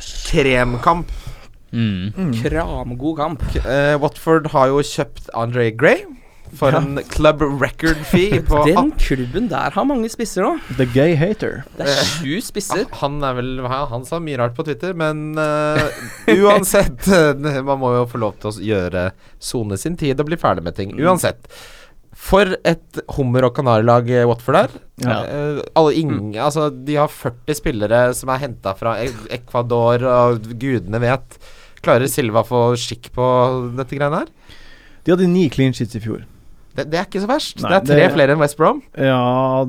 Kremkamp. Mm. Mm. Kramgod kamp. Eh, Watford har jo kjøpt Andre Gray for Ja. en club record fee på Den klubben der har mange spisser nå. The gay hater. Det er sju spisser. Ah, Han er vel hva- Han sa mye rart på Twitter, men eh, uansett eh, Man må jo få lov til å gjøre sone sin tid og bli ferdig med ting. Uansett. For et hummer- og kanarilag eh, Watford er. Ja. Eh, alle ingen, altså, de har 40 spillere som er henta fra E- Ecuador, og gudene vet. Klarer Silva å få skikk på dette greiene her? De hadde ni clean sheets i fjor. Det, det er ikke så verst. Nei, det er tre det- flere enn West Brom. Ja,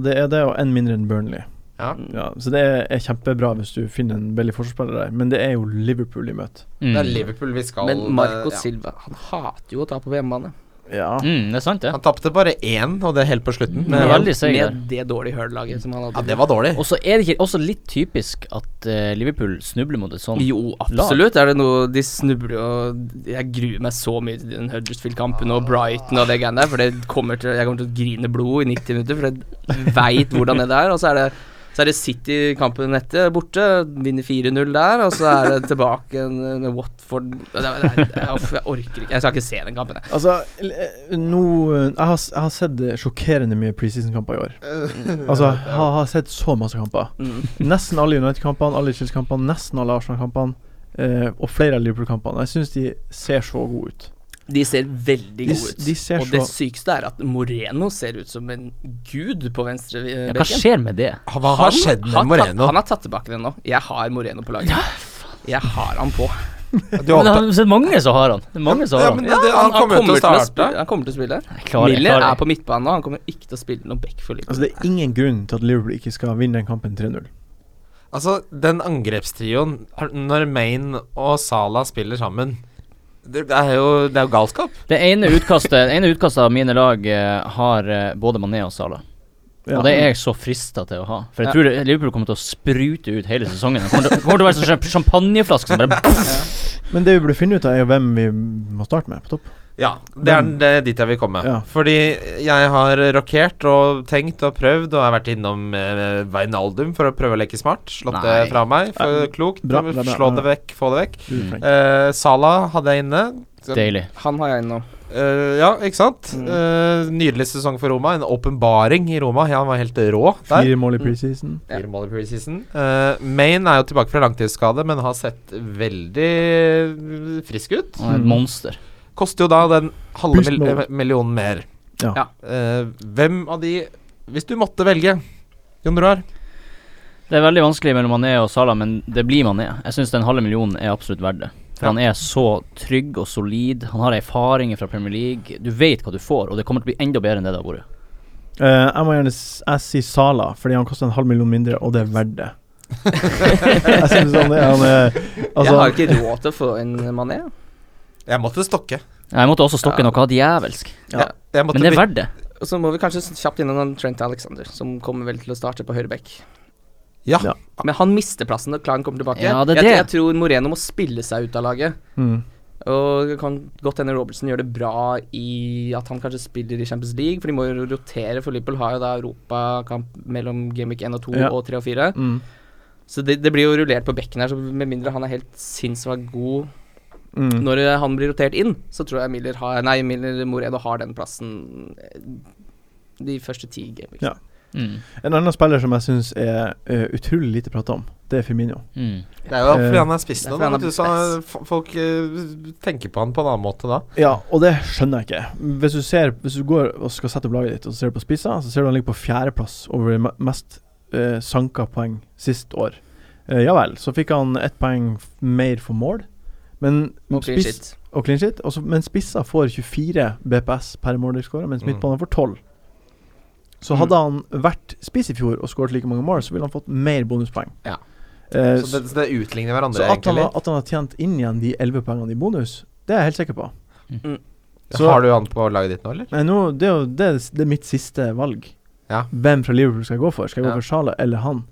det er det, og én mindre enn Burnley. Ja. Ja, så det er, er kjempebra hvis du finner en billig forsvarsspiller der, men det er jo Liverpool de møter. Mm. Det er Liverpool vi skal Men Marco eh, ja. Silva Han hater jo å tape på hjemmebane. Ja. Mm, det er sant, det. Han tapte bare én, og det er helt på slutten. Men det er veldig seig der. Med det dårlige høl-laget som han hadde. Ja, det var dårlig. Og så er det ikke også litt typisk at eh, Liverpool snubler mot et sånt. Jo, absolutt. Er det noe De snubler jo Jeg gruer meg så mye til den Huddersfield-kampen og Brighton og det greiene der, for det kommer til Jeg kommer til å grine blod i 90 minutter, for jeg veit hvordan det er. Og så er det så er det City-kampen etter, borte. Vinner 4-0 der. Og så er det tilbake en- med Watford det er- det er- jeg, uff, jeg orker ikke. Jeg skal ikke se den kampen, jeg. Altså, l- eh, nå jeg har, s- jeg har sett eh, sjokkerende mye preseason-kamper i år. Altså, jeg har, har sett så masse kamper. Mm. Nesten alle United-kampene, alle Chelsea-kampene, nesten alle Arsenal-kampene. eh, og flere av Liverpool-kampene. Jeg syns de ser så gode ut. De ser veldig De gode s- ut. de ser og det så- sykeste er at Moreno ser ut som en gud på venstre eh, Ja, hva bekken. skjer med det? Hva har skjedd med har Tatt, Moreno? han har tatt tilbake den nå. Jeg har Moreno på laget. Jeg har han på. Du Men det håper er så mange som har han. Det er mange som har ja, han. men det, det, han kommer jo til å starte. spille. Han kommer til å spille. Jeg klarer, jeg Miller klarer. er på midtbanen nå. Han kommer ikke til å spille noe back for Liverpool. Altså, det er ingen grunn til at Liverpool ikke skal vinne den kampen 3-0. Altså, den angrepstrioen har- Når Maine og Salah spiller sammen Det, det er jo det er jo galskap. Det ene utkastet, det ene utkastet av mine lag eh, har eh, både Mané og Salah. Og det er jeg så frista til å ha. For jeg Ja. tror det- Liverpool kommer til å sprute ut hele sesongen. Det kommer til, kommer til å være sånn sjam- champagneflaske som bare Men det vi burde finne ut av, er jo hvem vi må starte med på topp. Mm. Ja, det er det, er dit jeg vil komme. Ja. Fordi jeg har rokert og tenkt og prøvd, og jeg har vært innom eh, Veinaldum for å prøve å leke smart. Slått Nei. det fra meg. For, Ja, klokt. bra, bra, bra, Slå bra. det vekk, få det vekk. Du, Frank. Eh, Salah hadde jeg inne. Deilig. Han har jeg nå. Eh, ja, ikke sant? Mm. Eh, nydelig sesong for Roma. En åpenbaring i Roma. Ja, han var helt rå der. Fire Mm. mål i preseason. Ja. Fire mål i preseason. Eh, Maine er jo tilbake fra langtidsskade, men har sett veldig frisk ut. Han er et Mm. monster. Koster jo da den halve Pusten mil over. eh, millionen mer. Ja. Ja. Eh, hvem av de Hvis du måtte velge, Jon Roar Det er veldig vanskelig mellom Mané og Salah, men det blir Mané. Jeg syns den halve millionen er absolutt verdt det. For Ja. han er så trygg og solid. Han har erfaringer fra Premier League. Du vet hva du får, og det kommer til å bli enda bedre enn det det har vært. Eh, jeg må gjerne s- jeg si Sala, fordi han koster en halv million mindre, og det er verdt det. jeg synes han er, han er altså, jeg har ikke råd til å få en mané. Jeg måtte stokke. Jeg måtte også stokke Ja. noe djevelsk, Ja. Jeg, jeg måtte men det er bytte- verdt det. Og så må vi kanskje s- kjapt innom en Trent Alexander, som kommer vel til å starte på høyre back. Ja. Ja. Men han mister plassen når Klein kommer tilbake. Ja, det er jeg, jeg det. tror Moreno må spille seg ut av laget. mm, Og det kan godt hende Robertson gjør det bra i at han kanskje spiller i Champions League, for de må jo rotere, for Liverpool har jo da europakamp mellom Gameweek 1 og 2 Ja. og 3 og 4. mm, Så det, det blir jo rullert på bekken her, så med mindre han er helt sinnssvakt god mm. Når eh, han blir rotert inn, så tror jeg Miller har Nei, Miller Moreno har den plassen eh, de første ti gameweeks. Ja. Mm. En annen spiller som jeg syns er eh, utrolig lite prata om, det er Firmino. Mm. Det er jo fordi han er spiss Det er nå. fordi han er vet du, Så f- folk eh, tenker på han på en annen måte da. Ja, og det skjønner jeg ikke. Hvis du, ser, hvis du går og skal sette opp laget ditt, og så ser du på spissa, så ser du han ligger på fjerdeplass over me- mest eh, sanka poeng sist år. Eh, ja vel, så fikk han ett poeng f- mer for mål, men Og clean spiss- shit. og clean sheet. Og så- men spissa får 24 BPS per mål de scorer, mens Mm. midtbanen får 12. Så hadde han vært spiss i fjor og skåret like mange mål, så ville han fått mer bonuspoeng. Ja. Eh, Så det, så det utligner hverandre, så at han, egentlig. har- at han har tjent inn igjen de 11 poengene i bonus, det er jeg helt sikker på. Mm. så- Mm. har du han på laget ditt nå, eller? Nei, nå, det, er jo, det, er- det er mitt siste valg. Ja. Hvem fra Liverpool skal jeg gå for? Skal jeg Ja. gå for Salah eller han?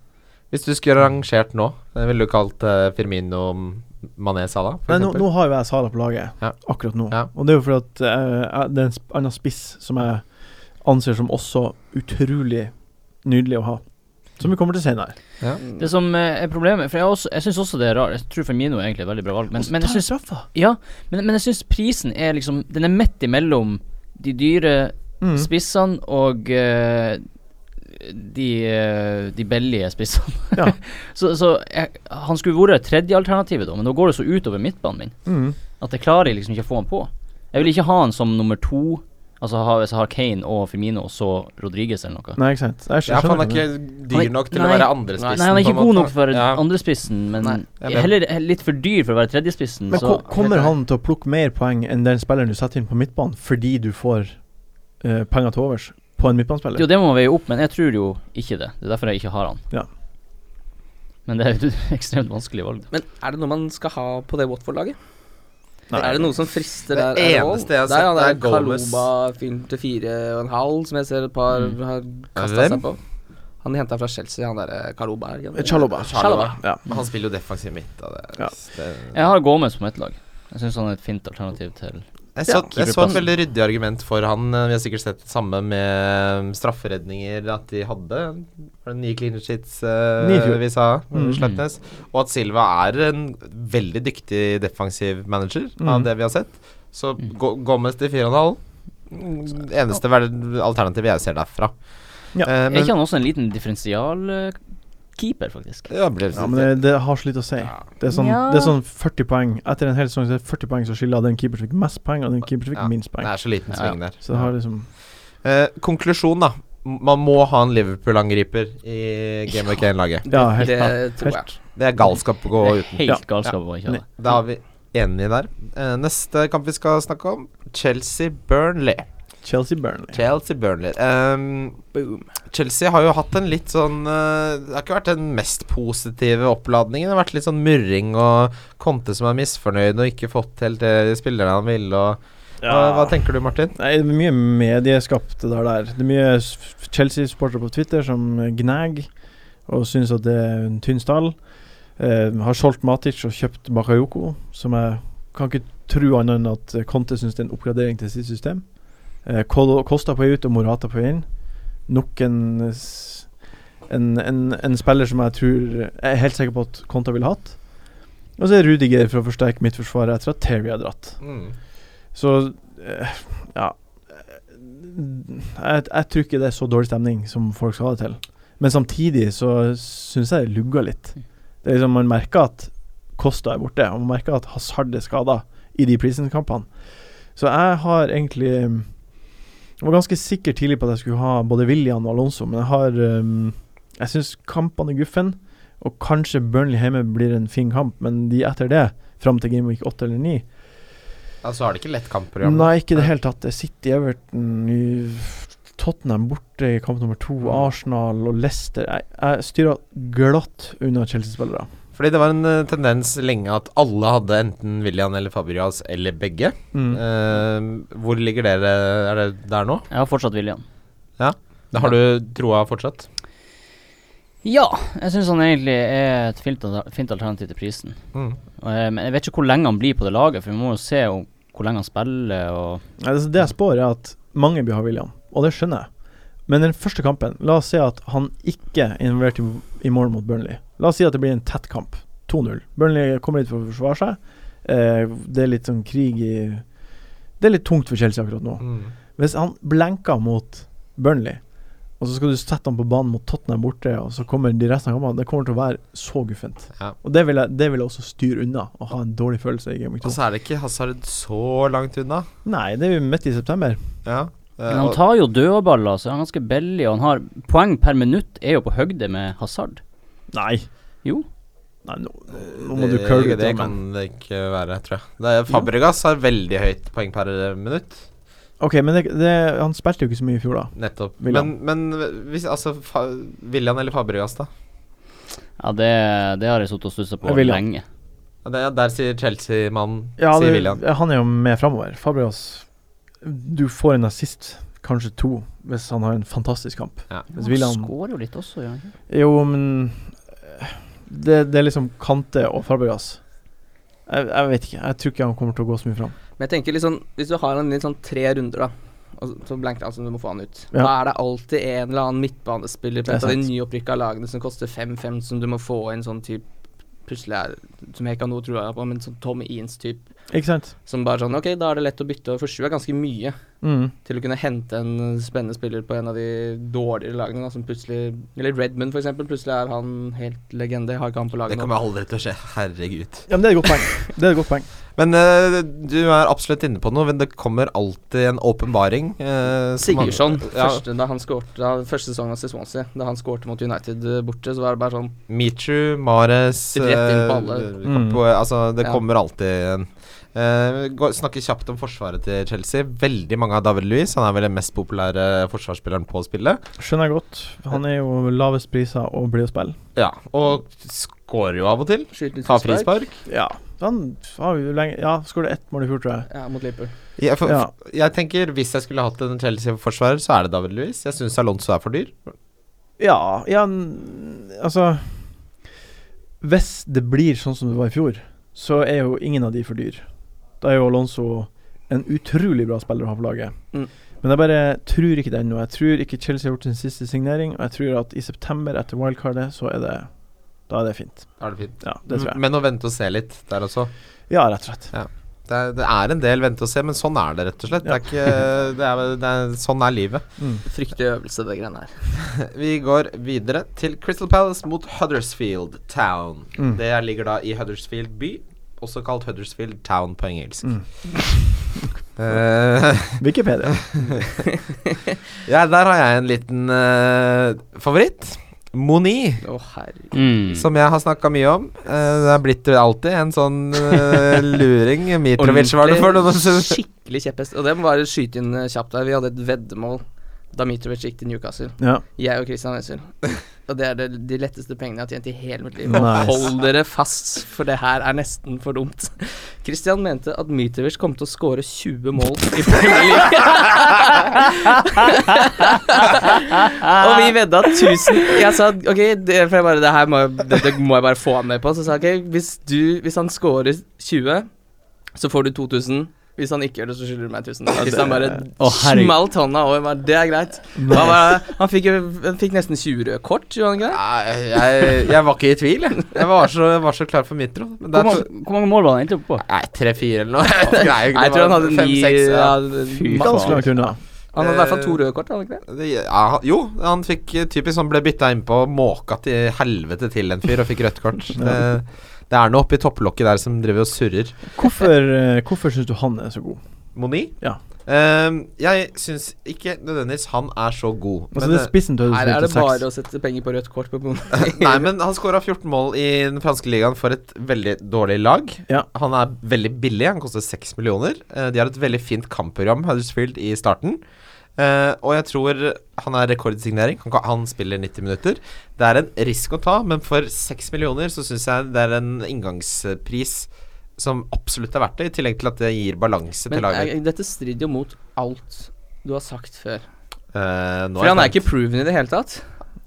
Hvis du skulle rangert nå, eh, ville du kalt eh, Firmino Mané Salah? for Nei, nå, eksempel? nå har jo jeg Salah på laget Ja. akkurat nå, Ja. og det er jo fordi at eh, jeg- det er en sp- annen spiss som jeg anser som også utrolig nydelig å ha, som vi kommer til senere. Det som eh, er problemet For jeg, har også- jeg syns også det er rart. Jeg tror Firmino er egentlig et veldig bra valg, men, men jeg syns ja, men, men jeg synes prisen er liksom Den er midt imellom de dyre Mm. spissene og eh, de, eh, de billige spissene. Ja. så så jeg, han skulle vært tredjealternativet, da, men nå går det så utover midtbanen min Mm. at jeg klarer liksom ikke å få han på. Jeg vil ikke ha han som nummer to. Altså ha, hvis jeg har Kane og Firmino og så Rodriguez eller noe. Nei, ikke sant. Jeg skj- Ja, for han skjønner er ikke. ikke Han dyr er- nok til å nei. være andrespissen. Nei, han er på ikke en god måte. nok for Ja. andrespissen, men Nei, jeg er heller he- litt for dyr for å være tredjespissen. Men Mm. Så ko- kommer han til å plukke mer poeng enn den spilleren du setter inn på midtbanen, fordi du får eh, penger til overs på en midtbanespiller? jo, det må man veie opp, men jeg tror jo ikke det. Det er derfor jeg ikke har han. Ja. Men det er jo et ekstremt vanskelig valg. Men er det noe man skal ha på det Watford-laget? Nei. Er det noe som frister Det der? eneste jeg har sett der, det er er Gomez. Kaluba fyren til fire og en halv, som jeg ser et par Mm. har kasta Hvem? seg på. Han henta fra Chelsea, han derre Kaluba. er det ikke det? Chalobah. Eh, Chalobah. Ja. Men Han spiller jo defensiv midt. Og det, Ja. det- Jeg har Gomez på mitt lag. Jeg syns han er et fint alternativ til Jeg så, Ja. jeg så et veldig ryddig argument for han. eh, Vi har sikkert sett det samme med um, strafferedninger at de hadde. Var det nye clean sheets eh, Nye i fjor. vi sa? Mm. Slettnes. Og at Silva er en veldig dyktig defensiv manager Mm. av det vi har sett. Så Mm. gå Gomez til 4,5. mm, Eneste vel- alternativet jeg ser derfra. Ja. Eh, Er ikke han også en liten differensial eh, keeper, faktisk. Ja, ble, Ja, men det, det har så litt å si. Ja. Det er, sånn, Ja. det er sånn 40 poeng. Etter en hel sesong så er det 40 poeng som skiller den keeper som fikk mest poeng, og den keeper som fikk Ja. minst Det poeng. er så liten Ja, ja. sving der. Så det har liksom Eh, konklusjon, da. Man må ha en Liverpool-angriper i Game of Kane-laget. Ja, helt det klart. tror jeg. Det er galskap å gå Det er uten. helt Ja. galskap å ikke ha det. Da er vi enige der. Eh, neste kamp vi skal snakke om, Chelsea-Burnley. Chelsea-Burnley. Chelsea-Burnley. Ehm, Chelsea har jo hatt en litt sånn eh, Det har ikke vært den mest positive oppladningen. Det har vært litt sånn murring og Conte som er misfornøyd og ikke fått helt det spillerne han ville. Og, hva, hva tenker du, Martin? Nei, det er mye medieskapte der, der. Det er mye s- Chelsea-supportere på Twitter som gnag og syns at det er en tynn stall. Eh, har solgt Matic og kjøpt Bakayoko, som jeg kan ikke tro annet enn at Conte syns det er en oppgradering til sitt system. Eh, Kolo- Costa på vei ut og Morata på vei inn. Nok en, s- en, en, en spiller som jeg tror Jeg er helt sikker på at Conte ville hatt. Og så er Rudiger for å forsterke mitt forsvar etter at Terry har dratt. Mm. Så eh, ja jeg, jeg tror ikke det er så dårlig stemning som folk skal ha det til. Men samtidig så syns jeg det lugger litt. Det er liksom Man merker at Kosta er borte, og man merker at Hazard er skada i de Prison-kampene. Så jeg har egentlig Jeg var ganske sikker tidlig på at jeg skulle ha både William og Alonso, men jeg har eh, Jeg syns kampene er guffen, og kanskje Burnley hjemme blir en fin kamp, men de etter det, fram til Game Week 8 eller 9, Altså har det ikke lett kampprogram. Nei, ikke i det Nei. hele tatt. Det er City, Everton, i Tottenham borte i kamp nummer to, Mm. Arsenal og Leicester. Jeg, jeg styrer glatt unna Chelsea-spillere. Fordi det var en eh, tendens lenge at alle hadde enten William eller Fabrias eller begge. Mm. Eh, hvor ligger dere? Er det der nå? Jeg har fortsatt William. Da har du troa fortsatt? Ja, jeg syns han egentlig er et fint, al- fint alternativ til prisen. Mm. Og, eh, Men jeg vet ikke hvor lenge han blir på det laget, for vi må jo se om, hvor lenge han spiller og Nei, altså, det, det jeg spår, er at mange blir ha William, og det skjønner jeg. Men den første kampen, la oss si at han ikke er involvert i, i mål mot Burnley. La oss si at det blir en tett kamp. 2-0. Burnley kommer dit for å forsvare seg. Eh, det er litt sånn krig i Det er litt tungt for Chelsea akkurat nå. Mm. Hvis han blenker mot Burnley, og så skal du sette han på banen mot Tottenham borte, og så kommer de resten av kampene, det kommer til å være så guffent. Ja. Og det vil, jeg, det vil jeg også styre unna, og ha en dårlig følelse i Game Week Og 2. så er det ikke Hazard så langt unna. Nei, det er jo midt i september. Ja. eh, Men han og- tar jo dødballer, så han er ganske billig, og han har poeng per minutt er jo på høgde med Hazard. Nei. Jo. Nei, nå, nå må det, du curle det ut. kan men- det ikke være, tror jeg. Det er, Fabregas har veldig høyt poeng per minutt, Ok, men det, det, han spilte jo ikke så mye i fjor, da. nettopp. Men, Willian. men hvis altså fa, William eller Fabregas, da? Ja, det, det har jeg sittet og stussa på Jeg vil ha. lenge. Ja, det, der sier Chelsea-mannen, Ja, sier det, William. han er jo med framover. Fabregas Du får en assist, kanskje to, hvis han har en fantastisk kamp. Ja. Hvis William Han skårer jo litt også, gjør han ikke? Jo, men eh, det, det er liksom Kante og Fabregas. Jeg, jeg vet ikke. Jeg tror ikke han kommer til å gå så mye fram. Men jeg tenker litt sånn, hvis du har en litt sånn tre runder, da. Og så- så blank, altså du må få han ut. Ja. Da er det alltid en eller annen midtbanespiller på Det er et av de sant. nyopprykka lagene som koster 5-5, som du må få inn sånn type Plutselig er Som jeg ikke har noe trua på, men sånn Tom Eanes-type. Ikke sant? Som bare sånn Ok, da er det lett å bytte over, for sju er ganske mye Mm. til å kunne hente en spennende spiller på en av de dårligere lagene, da, som plutselig Eller Redmond, for eksempel. Plutselig er han helt legende. Jeg har ikke han på Det laget nå. kommer aldri til å skje. Herregud. Ja, men det er et godt poeng. Det er et godt poeng. Men eh, du er absolutt inne på noe, men det kommer alltid en åpenbaring. eh, som man- Sigurdsson, Ja, første, da han skårte, da, første sesongen hans i Swansea, da han skårte mot United eh, borte, så var det bare sånn Michu, Mares Rett inn på eh, alle. Kapo- Mm. Altså, det Ja. kommer alltid en. Eh, gå- snakker kjapt om forsvaret til Chelsea. Veldig mange av David Louis. Han er vel den mest populære forsvarsspilleren på spillet. Skjønner jeg godt. Han er jo lavest priser og blir å spille. Ja, og scorer jo av og til. Skyter litt Tar frispark. frispark. Ja. Han har jo lenge Ja, skåret ett mål i fjor, tror jeg. Ja, mot Liverpool. Jeg, for, Ja. jeg tenker Hvis jeg skulle hatt en Chelsea-forsvarer, så er det David Louis. Jeg syns Alonso er for dyr. Ja, ja n- Altså Hvis det blir sånn som det var i fjor, så er jo ingen av de for dyr. Da er jo Alonso en utrolig bra spiller å ha på laget. Mm. Men jeg bare tror ikke det ennå. Jeg tror ikke Chelsea har gjort sin siste signering, og jeg tror at i september, etter wildcardet, så er det Da er det fint. Er det fint? Ja, det tror jeg. Men å vente og se litt der også. Ja, rett og slett. Det er, det er en del vente og se, men sånn er det rett og slett. Det er ikke, det er, det er, sånn er livet. Mm, Fryktelig øvelse, det greiene her. Vi går videre til Crystal Palace mot Huddersfield Town. Mm. Det ligger da i Huddersfield by, også kalt Huddersfield Town på engelsk. Mm. Eh, Wikipedia. ja, der har jeg en liten eh, favoritt. Moni. Å, herregud. Mm. Som jeg har snakka mye om. Eh, det er blitt alltid en sånn eh, luring. Mitrovic var det for noen år Ordentlig, siden. Skikkelig kjepphest. Og det må bare skyte inn eh, kjapt der. Vi hadde et veddemål da Mitrovic gikk til Newcastle. Ja. Jeg og Christian Wessel. Og det er det, de letteste pengene jeg har tjent i hele mitt liv. Nice. Hold dere fast, for det her er nesten for dumt. Christian mente at Mitrovic kom til å skåre 20 mål i Premier League. og vi vedda 1000. Jeg sa ok, det, for jeg bare, det her må, jeg- det, det må jeg bare få han med på. Så sa jeg ok, hvis, du, hvis han skårer 20, så får du 2000. Hvis han ikke gjør det, så skylder du meg 1000. Christian bare Å, herregud. smalt hånda over. bare, Det er greit. Han, var, han, fikk, jo- han fikk nesten 20 røde kort, gjorde han ikke det? Nei, jeg, jeg var ikke i tvil, jeg. Jeg var så, jeg var så klar for Mitro. Men Hvor, der, mange, hvor mange mål var han egentlig oppe på? nei, tre-fire eller noe. Jeg vet ikke, det er jo ikke- Nei, jeg tror han hadde fem, ni seks, ja. ja, Fy ma- Ganske langt unna. Han hadde i hvert fall to røde kort, hadde han ikke det? Det- ja, han- jo, han fikk eh, typisk sånn ble bytta innpå og måka til helvete til en fyr og fikk rødt kort. Det, det er noe oppi topplokket der som driver og surrer. Hvorfor, eh, hvorfor syns du han er så god? Moni? Ja. Ehm, jeg syns ikke nødvendigvis han er så god. Altså, men, det eh, er spissen til Her er det bare 1996. å sette penger på rødt kort på bonden. Nei, men han skåra 14 mål i den franske ligaen for et veldig dårlig lag. Ja. Han er veldig billig, han koster 6 millioner. Eh, De har et veldig fint kampprogram, Huddersfield, i starten. Eh, og jeg tror han er rekordsignering. Han, kan- han spiller 90 minutter. Det er en risk å ta, men for 6 millioner så syns jeg det er en inngangspris som absolutt er verdt det, i tillegg til at det gir balanse til Men eh, laget. jeg, dette strider jo mot alt du har sagt før. Eh, nå For han er jeg spent. ikke proven i det hele tatt.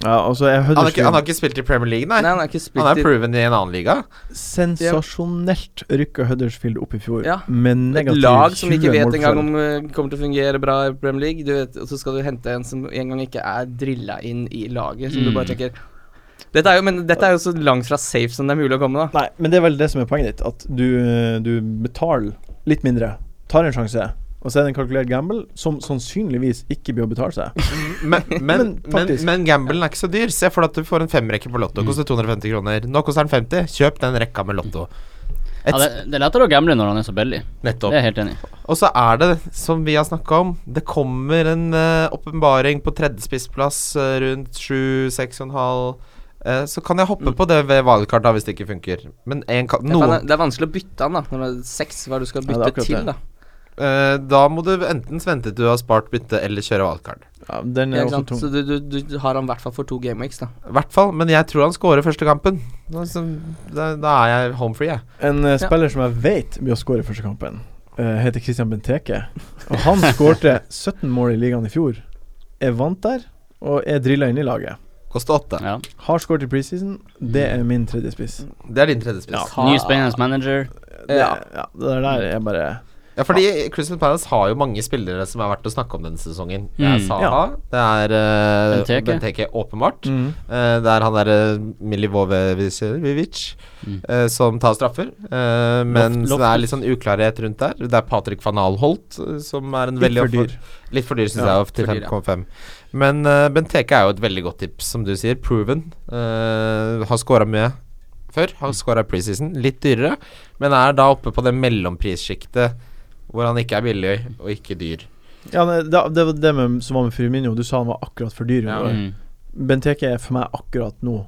Ja, altså, jeg han, har ikke, han Huddersfield har ikke spilt i Premier League, nei. Nei, han er ikke han er spilt i proven i en annen liga. sensasjonelt rykka Huddersfield opp i fjor Ja. med et negativ 20 lag som ikke vet målforskjell. engang om eh, kommer til å fungere bra i Premier League. Du vet, og så skal du hente en som engang ikke er drilla inn i laget, som du Mm. bare tenker dette er, jo, men dette er jo så langt fra safe som det er mulig å komme, da. Nei, men det er vel det som er poenget ditt. At du, eh, du betaler litt mindre, tar en sjanse, og så er det en kalkulert gamble som sannsynligvis ikke blir å betale seg. Men, men, Men men, faktisk. men gamblen er ikke så dyr. Se for deg at du får en femrekke på Lotto. Koster 250 kroner. Nå koster den 50. Kjøp den rekka med Lotto. Et, Ja, det, det er lettere å gamble når han er så billig. Det nettopp. er jeg helt enig i. Og så er det, som vi har snakka om, det kommer en eh, åpenbaring på tredjespissplass eh, rundt 7-6,5. Eh, så kan jeg hoppe Mm. på det ved wildcard da, hvis det ikke funker. Men en kan, Ja, for noen han er- Det er vanskelig å bytte han, da. Når det er seks, hva er det du skal Ja, det er bytte akkurat til, det. da? eh, Da må du enten vente til du har spart bytte, eller kjøre wildcard. Ja, den Ja, er ikke også sant? tung. Så du, du, du har han i hvert fall for to gameweeks, da. I hvert fall. Men jeg tror han scorer første kampen. Altså, da, da er jeg home free, jeg. En eh, spiller som jeg vet blir å skåre i første kampen, eh, heter Christian Benteke. Og han skårte 17 mål i ligaen i fjor. Er vant der, og er drilla inn i laget. Koster åtte. Ja. Har skåret i preseason. Det er min tredje spiss. Det er din tredjespiss. Ja. Ny spennende manager. Det, Ja. ja. Det der er bare Ja, fordi Crystal Palace har jo mange spillere som er verdt å snakke om denne sesongen. Det er Mm. Saha, det er eh, Benteke. Benteke, Mm. åpenbart. Eh, det er han derre Milivojevic Mm. eh, som tar straffer. Eh, men Loft- så det er litt sånn uklarhet rundt der. Det er Patrick van Alholt eh, som er en litt veldig for dyr. Litt for dyr, syns Ja, jeg, til for dyr, ja. 5,5. Men eh, Benteke er jo et veldig godt tips, som du sier. Proven. Eh, har scora mye før. Har scora i preseason. Litt dyrere, men er da oppe på det mellomprissjiktet hvor han ikke er billig og ikke dyr. Ja, nei, det, det var det med, som var med Firmino. Du sa han var akkurat for dyr. Ja. Ja. Mm. Benteke er for meg akkurat nå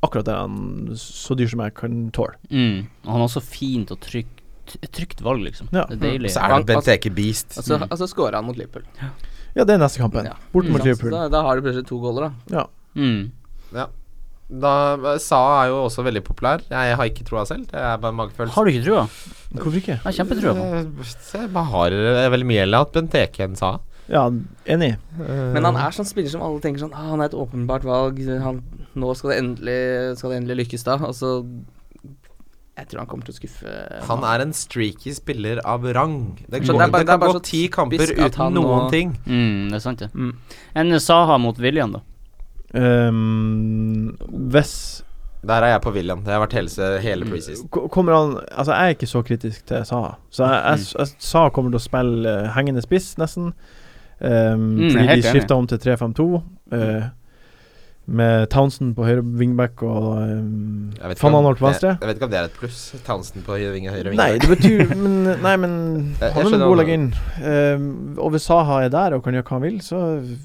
Akkurat er han så dyr som jeg kan tåle. Mm. Og han har så fint og trygt, trygt valg, liksom. Ja. Det er deilig. Så er Han- det Benteke Beast. Altså, Mm. altså scorer han mot Liverpool. Ja, det er neste kampen. Ja. Bort mot Ikke sant? Så Liverpool. Da, da har du plutselig to goaler, da. Mm. Da, Saha er jo også veldig populær. Jeg har ikke troa selv. Det er bare magefølelse. Har du ikke trua? Hvorfor ikke? Jeg har kjempetrua på han. Eh, se, hva har det er veldig mye heller at Benteke enn Saha. Ja, enig. Men han er sånn spiller som alle tenker sånn ah, Han er et åpenbart valg. Han, nå skal det, endelig, skal det endelig lykkes, da. Og så Jeg tror han kommer til å skuffe. Han er en streaky spiller av rang. Det, Så går, det er det, bare- det er kan bare gå så ti kamper typisk at uten han noen nå- ting. Mm, det er sant, det. Mm. Enn Saha mot William, da. Ehm, hvis Der er jeg på William. Det har vært hele, se- hele preseason. Ko- Kommer han Altså, jeg er ikke så kritisk til Saha. Så jeg, jeg, jeg, Saha kommer til å spille eh, hengende spiss, nesten. Ehm, fordi Mm, jeg er de helt enig. skifta om til 3-5-2. eh, med Townsend på høyre wingback og um, Jeg vet ikke Van om- Anholt på venstre. Jeg, jeg vet ikke om det er et pluss. Townsend på høyre vinge, høyre vinge. Nei, det betyr men, Nei, men Jeg- jeg han er skjønner en hva god du legge inn. Ehm, og hvis Saha er der og kan gjøre hva han vil, så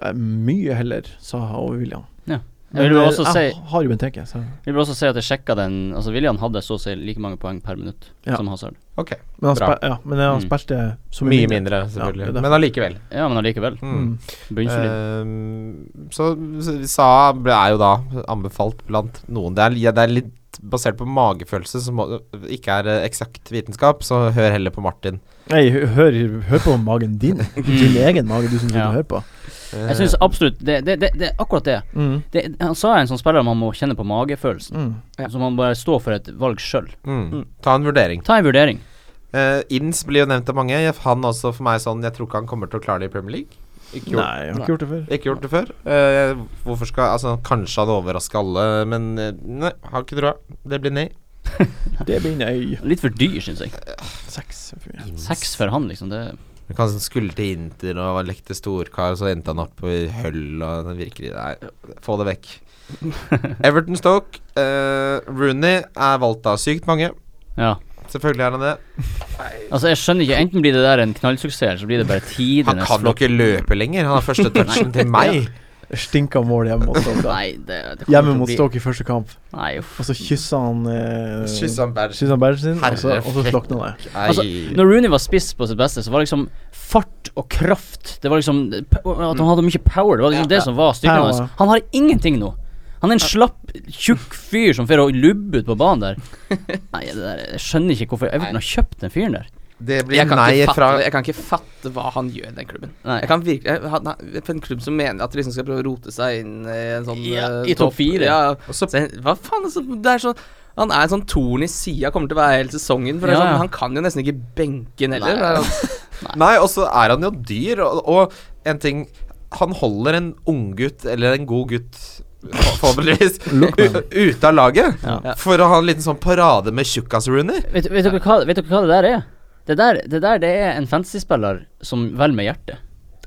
er mye heller Saha over William. Ja. Men Jeg vil eh, også si jeg har jo Benteke, så Jeg vil også si at jeg sjekka den Altså William hadde så å si like mange poeng per minutt Ja. som Hazard. Ok. Men han, Bra. spe, ja, men han Mm. spilte så Mye mindre, selvfølgelig. Ja, det er det. Men allikevel. Ja, men allikevel. Mm. Bunnsolid. Ehm, så så Sa ble- er jo da anbefalt blant noen. Det er, ja, det er litt basert på magefølelse, som må- ikke er eh, eksakt vitenskap, så hør heller på Martin. Nei, hø- hør, hør på magen din. Din egen mage du syns Mm. Ja. du hører på. Eh, Jeg syns absolutt det, det, det, det er akkurat det. Mm. det. Han sa er en sånn spiller man må kjenne på magefølelsen. Mm. Ja. Så man bare står for et valg sjøl. mm. Ta en vurdering. Ta en vurdering. Eh, Inns blir jo nevnt av mange. Han også for meg sånn Jeg tror ikke han kommer til å klare det i Premier League. Ikke gjort, Nei, jeg har ikke gjort det før. ikke gjort det før. Eh, hvorfor skal Altså, kanskje han overrasker alle, men eh, nei, har ikke troa. Det blir nei. Det blir nei. Litt for dyr, syns jeg. Seks. er for mye. Seks for han, liksom. Det Du kan skulle til Inter og lekte storkar, og så endte han opp i høll og det virker Nei, få det vekk. Everton Stoke. eh, Rooney er valgt av sykt mange. Ja. Selvfølgelig er han det. Altså, jeg skjønner ikke. Enten blir det der en knallsuksess, eller så blir det bare Han tidenes kan jo ikke løpe lenger. Han har første touchen til meg. Stinka mål hjemme mot Stoke. Nei, det, det kommer Hjemme til å mot bli- Stoke i første kamp, Nei, uff. og så kyssa han eh, Kyssa han bæsj. kyssa han bæsjen sin, og så, Herre og så fett. slokna det. Altså, Nei. når Rooney var spiss på sitt beste, så var det liksom fart og kraft Det var liksom det- p- At han hadde mye power. Det var liksom Ja. det som var styrken Power. hans. Han har ingenting nå. Han er en slapp, tjukk fyr som får å lubbe ut på banen der. Nei, det der, jeg skjønner ikke hvorfor Everton har kjøpt den fyren der. Det Jeg blir kan, nei ikke fatte, fra det. jeg kan ikke fatte hva han gjør i den klubben. Nei. Jeg kan virkelig jeg- han, han- For en klubb som mener at de liksom skal prøve å rote seg inn i en sånn Ja, eh, i topp fire. Ja, Og så Så jeg- hva faen altså, det er sånn han er en sånn torn i sida, kommer til å være hele sesongen. For det er Ja, sånn, ja. Han kan jo nesten ikke benken heller. Nei. Det er sånn- Nei, og så er han jo dyr, og, og en ting Han holder en unggutt, eller en god gutt forhåpentligvis, u- ute av laget. Ja. For å ha en liten sånn parade med tjukkas-Rooney. Vet, vet, dere hva, vet dere hva det der er? Det der, det der det er en fantasy-spiller som velger med hjertet.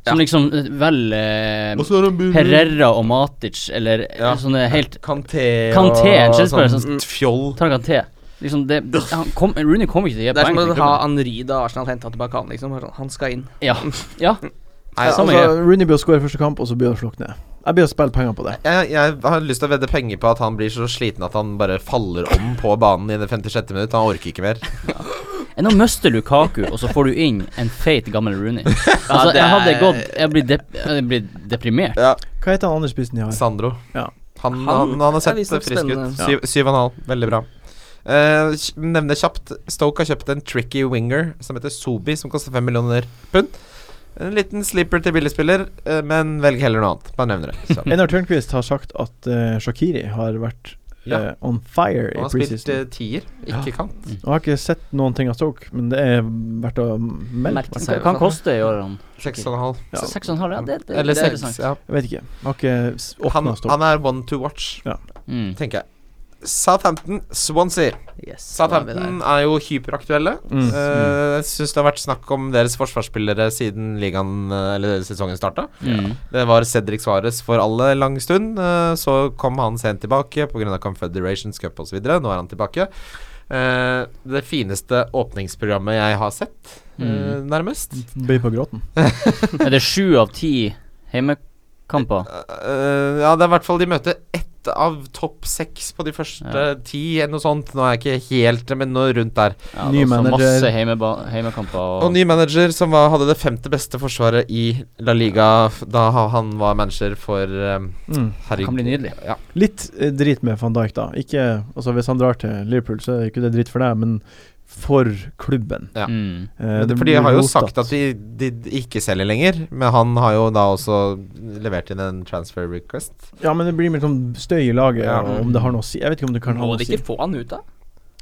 Som liksom eh, velger eh, Herrera og Matic eller eh, Mm. Ja. sånne helt Kanté Kanté, en Chelsea-spiller, Mm. sånn- fjoll. Targanté. Liksom det, han kom, Rooney kommer ikke til å gi det er som poeng. å til ha klubben. Henry da Arsenal henta tilbake han, liksom. Bare sånn, Han skal inn. Ja. ja. Nei, Samme Altså, Rooney blir å score i første kamp, og så blir han å slukne. Jeg blir å spille penger på det. altså, Jeg, jeg har lyst til å vedde penger på at han blir så sliten at han bare faller om på banen i det 56. minutt. Han orker ikke mer. Enn å miste Lukaku, og så får du inn en feit, gammel Rooney. Altså, det jeg hadde er- gått Jeg blir, dep jeg hadde blitt deprimert. Hva heter han andre spissen de har? Sandro. Ja. Han, Han han, han har er sett visstnok frisk ut. spennende. Syv, syv og en halv. Veldig bra. Uh, nevne kjapt Stoke har kjøpt en tricky winger som heter Sobi, som koster fem millioner pund. En liten sleeper til billigspiller, eh, men velg heller noe annet. Bare nevner det. Så. Einar Tørnquist har sagt at eh, Shakiri har vært Ja. eh, on fire Han i har spilt preseason. eh, tier, ikke kant. Jeg har ikke sett noen ting av Stoke, men det er verdt å melde. Merke Hva han koster i år, han? Seks og en halv. Ja. Seks og en halv? Ja, det, det, Mm. Eller det er seks. interessant. Ja. Jeg vet ikke. Jeg har ikke s- Han, åpnet Stoke. han er one to watch, Mm. tenker jeg. Southampton, Swansea. Yes, da er vi Southampton er jo hyperaktuelle. Mm. Eh, Jeg syns det har vært snakk om deres forsvarsspillere siden ligaen, eh, eller sesongen starta. Mm. Det var Cedric Suárez for alle lang stund. eh, Så kom han sent tilbake pga. Confederations Cup osv. Nå er han tilbake. Eh, Det fineste åpningsprogrammet jeg har sett, eh, Mm. nærmest. Bøy på gråten. Er det sju av ti heimekamper? Eh, Ja, det er i hvert fall de møter ett av topp seks på de første Ja. ti, eller noe sånt. Nå er jeg ikke helt, men noe rundt der. Ja, Ny det var også manager. Masse heimeba heimekamper. Og, Og ny manager som var, hadde det femte beste forsvaret i La Liga f- da ha- han var manager for um, Mm. herregud. Kan bli nydelig. Ja. Litt eh, drit med van Dijk, da. Ikke, altså hvis han drar til Liverpool, så er ikke det dritt for deg, men for klubben. Ja. Mm. Eh, det For de blir har jo rotet. sagt at de, de ikke selger lenger, men han har jo da også levert inn en transfer request. Ja, men det blir mer sånn støy i laget, Ja. og om det har noe å si. Jeg vet ikke om det kan ha Må noe de å si. ikke få han ut, da?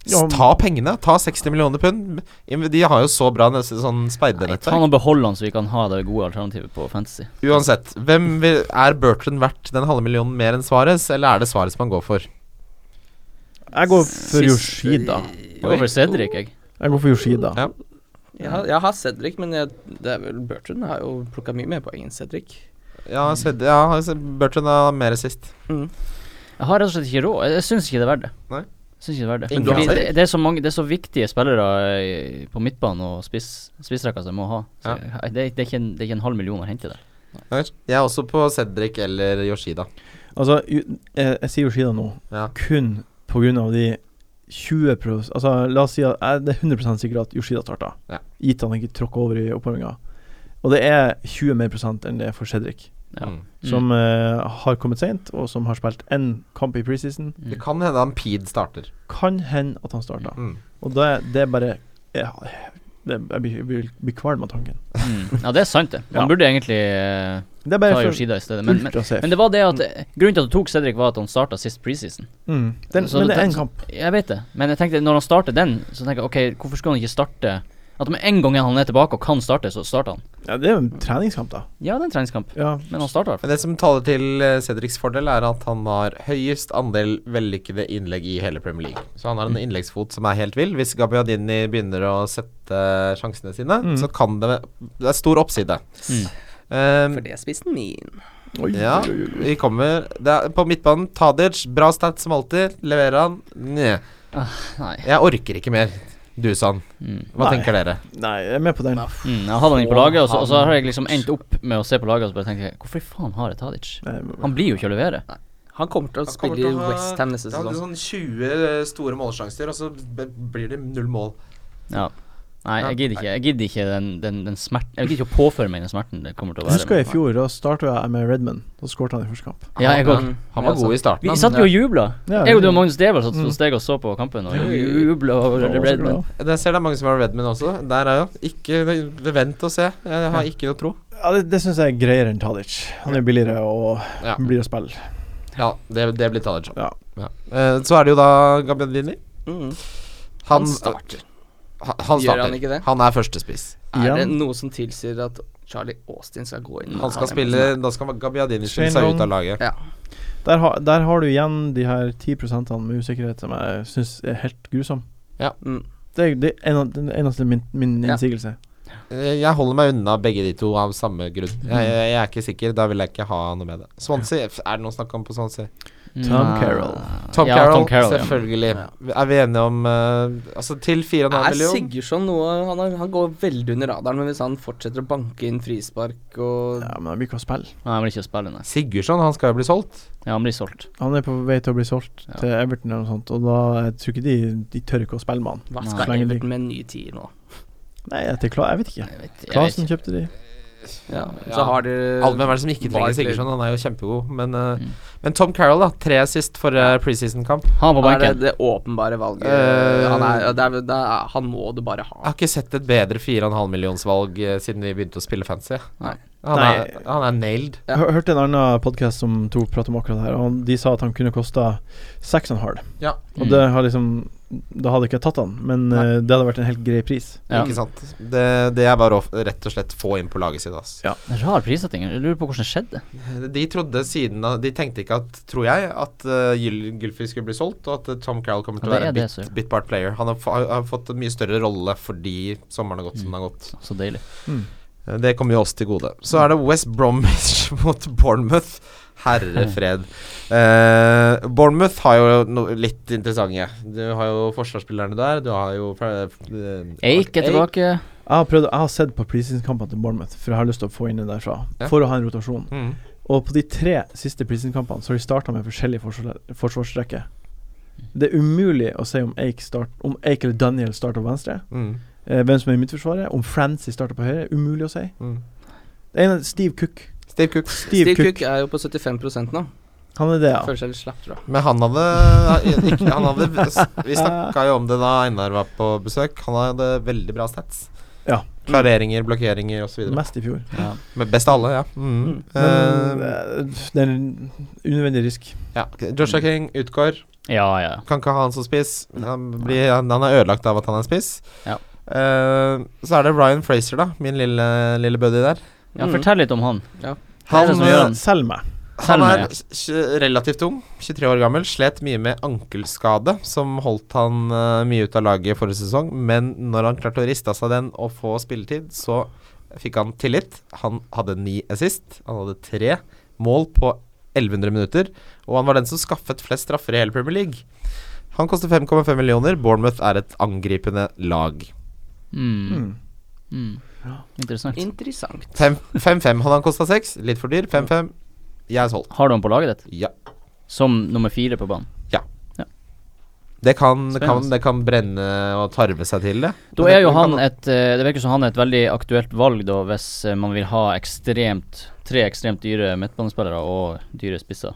Ja, S- Ta pengene! Ta 60 millioner pund. De har jo så bra nes- sånn Nei, ta han speidernettverk. og behold han, så vi kan ha det gode alternativet på fantasy. Uansett, hvem vil, er Bertrand verdt den halve millionen mer enn Svares, eller er det Svares man går for? Jeg går for Siste- Yoshida. Jeg går for Cedric, jeg. Jeg går for Yoshida. Ja. Jeg har, jeg har Cedric, men jeg, det er vel Bertrand har jo plukka mye mer poeng enn Cedric. Ja, Sed- ja Bertrand har mer sist. Jeg har rett og slett ikke råd. Jeg- Jeg syns ikke det er verdt det. Nei. Jeg synes ikke Det er verdt det Men du har Fordi Cedric. det, det, er så mange, det er så viktige spillere eh, på midtbanen og spiss, spissrekka som jeg må ha. Så jeg- det, er- det, er ikke en, det er ikke en halv million å hente der. Jeg er også på Cedric eller Yoshida. Altså, jeg, jeg sier Yoshida nå Ja. kun pga. de 20 pros, Altså, la oss si at jeg, det er 100 sikkert at Yoshida starta, Ja. gitt han ikke tråkka over i oppvarminga. Og det er 20 mer prosent enn det er for Cedric, Ja. Mm. som eh, har kommet seint, og som har spilt én kamp i preseason. Mm. Det kan hende han Peed starter. Kan hende at han starta. Mm. Og det, det er bare ja, det, Jeg blir- jeg blir blir kvalm av tanken. Mm. Ja, det er sant, det. Man Ja. burde egentlig eh, Det er ta bare for Yoshida i stedet. Men, men, ultrasafe. men det var det at eh, grunnen til at du tok Cedric, var at han starta sist preseason. mm. Den, så men det- det er én kamp. Jeg vet det, men jeg tenkte når han starter den, så tenker jeg OK, hvorfor skulle han ikke starte At med en gang han er tilbake og kan starte, så starter han. Ja, det er jo en treningskamp, da. Ja, det er en treningskamp, Ja. men han starter i hvert fall. Men det som taler til eh, Cedrics fordel, er at han har høyest andel vellykkede innlegg i hele Premier League. Så han har en innleggsfot som er helt vill. Hvis Gabbiadini begynner å sette sjansene sine, Mm. så kan det Det er stor oppside. Mm. Um, For det er spissen min. Oi, Ja. oi, oi, oi. vi kommer det er, På midtbanen, Tadic. Bra stats som alltid. Leverer han? Nja. Nei. Jeg orker ikke mer. Dusan, Mm. hva Nei. tenker dere? Nei, jeg er med på den. Mm, jeg hadde han ikke på Få laget, og så, og så han. har jeg liksom endt opp med å se på laget og så bare tenker jeg Hvorfor i faen har jeg Tadic? Nei, Han blir jo ikke å levere. Han kommer til å Han kommer spille i til å ha- Westham neste Det er sånn sesong. 20 store målsjanser, og så b- blir det null mål. Ja. Nei, jeg gidder ikke, jeg gidder ikke den, den, den smerten Jeg gidder ikke å påføre meg den smerten det kommer til å Jeg husker være. i fjor, da starta jeg med Redman. Da skårte han i første kamp. Ja, jeg går. Mm. Han var Ja, god i starten. Vi han. satt jo og jubla. Ja, Jeg og du og Magnus Devold satt Mm. på steg og så på kampen og Ja, ja, ja. jubla over Jeg var så Redman. glad. Jeg ser det er mange som har Redman også. Der er jo Ikke vent og se. Jeg har ikke noe tro. Ja, det det syns jeg er greiere enn Tadic. Han er billigere og Ja, blir å spille. ja det, det blir Tadic. Ja. Ja. Eh, så er det jo da Gabiadini. Mm. Han, Han starter. Han, han Gjør starter. han ikke det? Han er førstespiss. Er det Igjen. noe som tilsier at Charlie Austin skal gå inn? Han skal spille Da skal Gabiadini skille seg Shane ut av laget. Ja. Der, har- der har du igjen de her 10 med usikkerhet som jeg syns er helt grusom. Mm. Det er, det er en av, den eneste min, min Ja. innsigelse. Eh, Jeg holder meg unna begge de to av samme grunn. Jeg, jeg, jeg er ikke sikker. Da vil jeg ikke ha noe med det. Swansea, er det noe snakk om på Swansea? Tom Carroll. Tom ja, Carroll, Tom Carroll, ja. selvfølgelig. Ja. Er vi enige om eh, Altså, til 4,5 Er million Sigurdsson noe han, er, han går veldig under radaren, men hvis han fortsetter å banke inn frispark og Ja, men han blir ikke å spille. Nei, han blir ikke å spille, nei. Sigurdsson, han skal jo bli solgt. Ja, han blir solgt. Han er på vei til å bli solgt Ja. til Everton eller noe sånt, og da jeg tror ikke de, de tør ikke å spille med han. Hva Nei. skal Slenger Everton med en ny tier nå? Nei, jeg, til Kla jeg vet ikke. Jeg vet, jeg vet. Klasen kjøpte de. Ja, Ja. Så har de Alle hvem er det som ikke trenger Barkley. Sigurdsson? Han er jo kjempegod. Men, eh, Mm. men Tom Carroll, da. Tre sist for eh, preseason-kamp. Ha han på er det, benken. det åpenbare valget. Eh, han, er, det er, det er, han må du bare Jeg ha. har ikke sett et bedre 4,5 millionsvalg eh, siden vi begynte å spille fancy. Nei. Han, er, Nei. han er nailed. Ja. Jeg hørte en annen podkast som tok prat om akkurat det her, og han- de sa at han kunne kosta 6,5. Ja. Og det har liksom Da hadde jeg ikke tatt han, men Nei. eh, det hadde vært en helt grei pris. Ja. Ikke sant. Det, det er bare å f- rett og slett få inn på laget sitt. Ass. Ja. Rar prissetting. Jeg lurer på hvordan det skjedde. De trodde siden av- De tenkte ikke at, tror jeg, at uh, Gylfi skulle bli solgt, og at eh, Tom Carroll kommer til Ja, å det være er en det bit, som gjør. bitbart player. Han har, fa- har fått en mye større rolle fordi sommeren har gått Mm. som den har gått. Så deilig. Eh, Det kommer jo oss til gode. Så er det West Bromwich mot Bournemouth. Mm. Herre fred. Eh, Bournemouth har jo no litt interessante. Du har jo forsvarsspillerne der. Du har jo fra- eh, Eik er tilbake. Jeg har, prøvd, jeg har sett på preseason-kampene til Bournemouth, for jeg har lyst til å få inn den derfra. Ja. For å ha en rotasjon. Mm. Og på de tre siste preseason-kampene så har de starta med forskjellige forsvar- forsvarsrekker. Det er umulig å si om Ake, start, om Ake eller Daniel starter på venstre, Mm. eh, hvem som er i midtforsvaret, om Francis starter på høyre. Umulig å si. Mm. Det ene er Steve Cook. Steve Cook. Steve, Cook. er jo på 75 nå. Han er det, ja. Føler seg litt slapp, tror jeg. Men han hadde, eh, ikke, han hadde Vi snakka jo om det da Einar var på besøk. Han hadde veldig bra stats. Ja. Klareringer, blokkeringer osv. Mest i fjor. Ja. Best av alle, ja. Mm. Men Eh, eh, det er en unødvendig risk. ja. Joshua King utgår. ja, ja. Kan ikke ha han som spiss. Han, blir, han han er ødelagt av at han er spiss. Ja. Eh, så er det Ryan Fraser, da. Min lille, lille buddy der. Mm. Mm. Ja, fortell litt om han. Han, det som gjør han? eh, Selg meg. Han Selmer, er s- relativt ung, 23 år gammel. Slet mye med ankelskade, som holdt han eh, mye ut av laget forrige sesong. Men når han klarte å riste av seg den og få spilletid, så fikk han tillit. Han hadde ni assist. Han hadde tre mål på 1100 minutter. Og han var den som skaffet flest straffer i hele Premier League. Han koster 5,5 millioner. Bournemouth er et angripende lag. Mm. Mm. Mm. Interessant. Interessant. 5-5 hadde han kosta 6. Litt for dyr. 5-5. Jeg er solgt. Har du han på laget ditt? Ja. Som nummer fire på banen? Det kan, kan, Spennende. det kan brenne og tarve seg til det. Da Men er det- jo men han kan- et eh, Det virker som han er et veldig aktuelt valg, da, hvis eh, man vil ha ekstremt tre ekstremt dyre midtbanespillere og dyre spisser.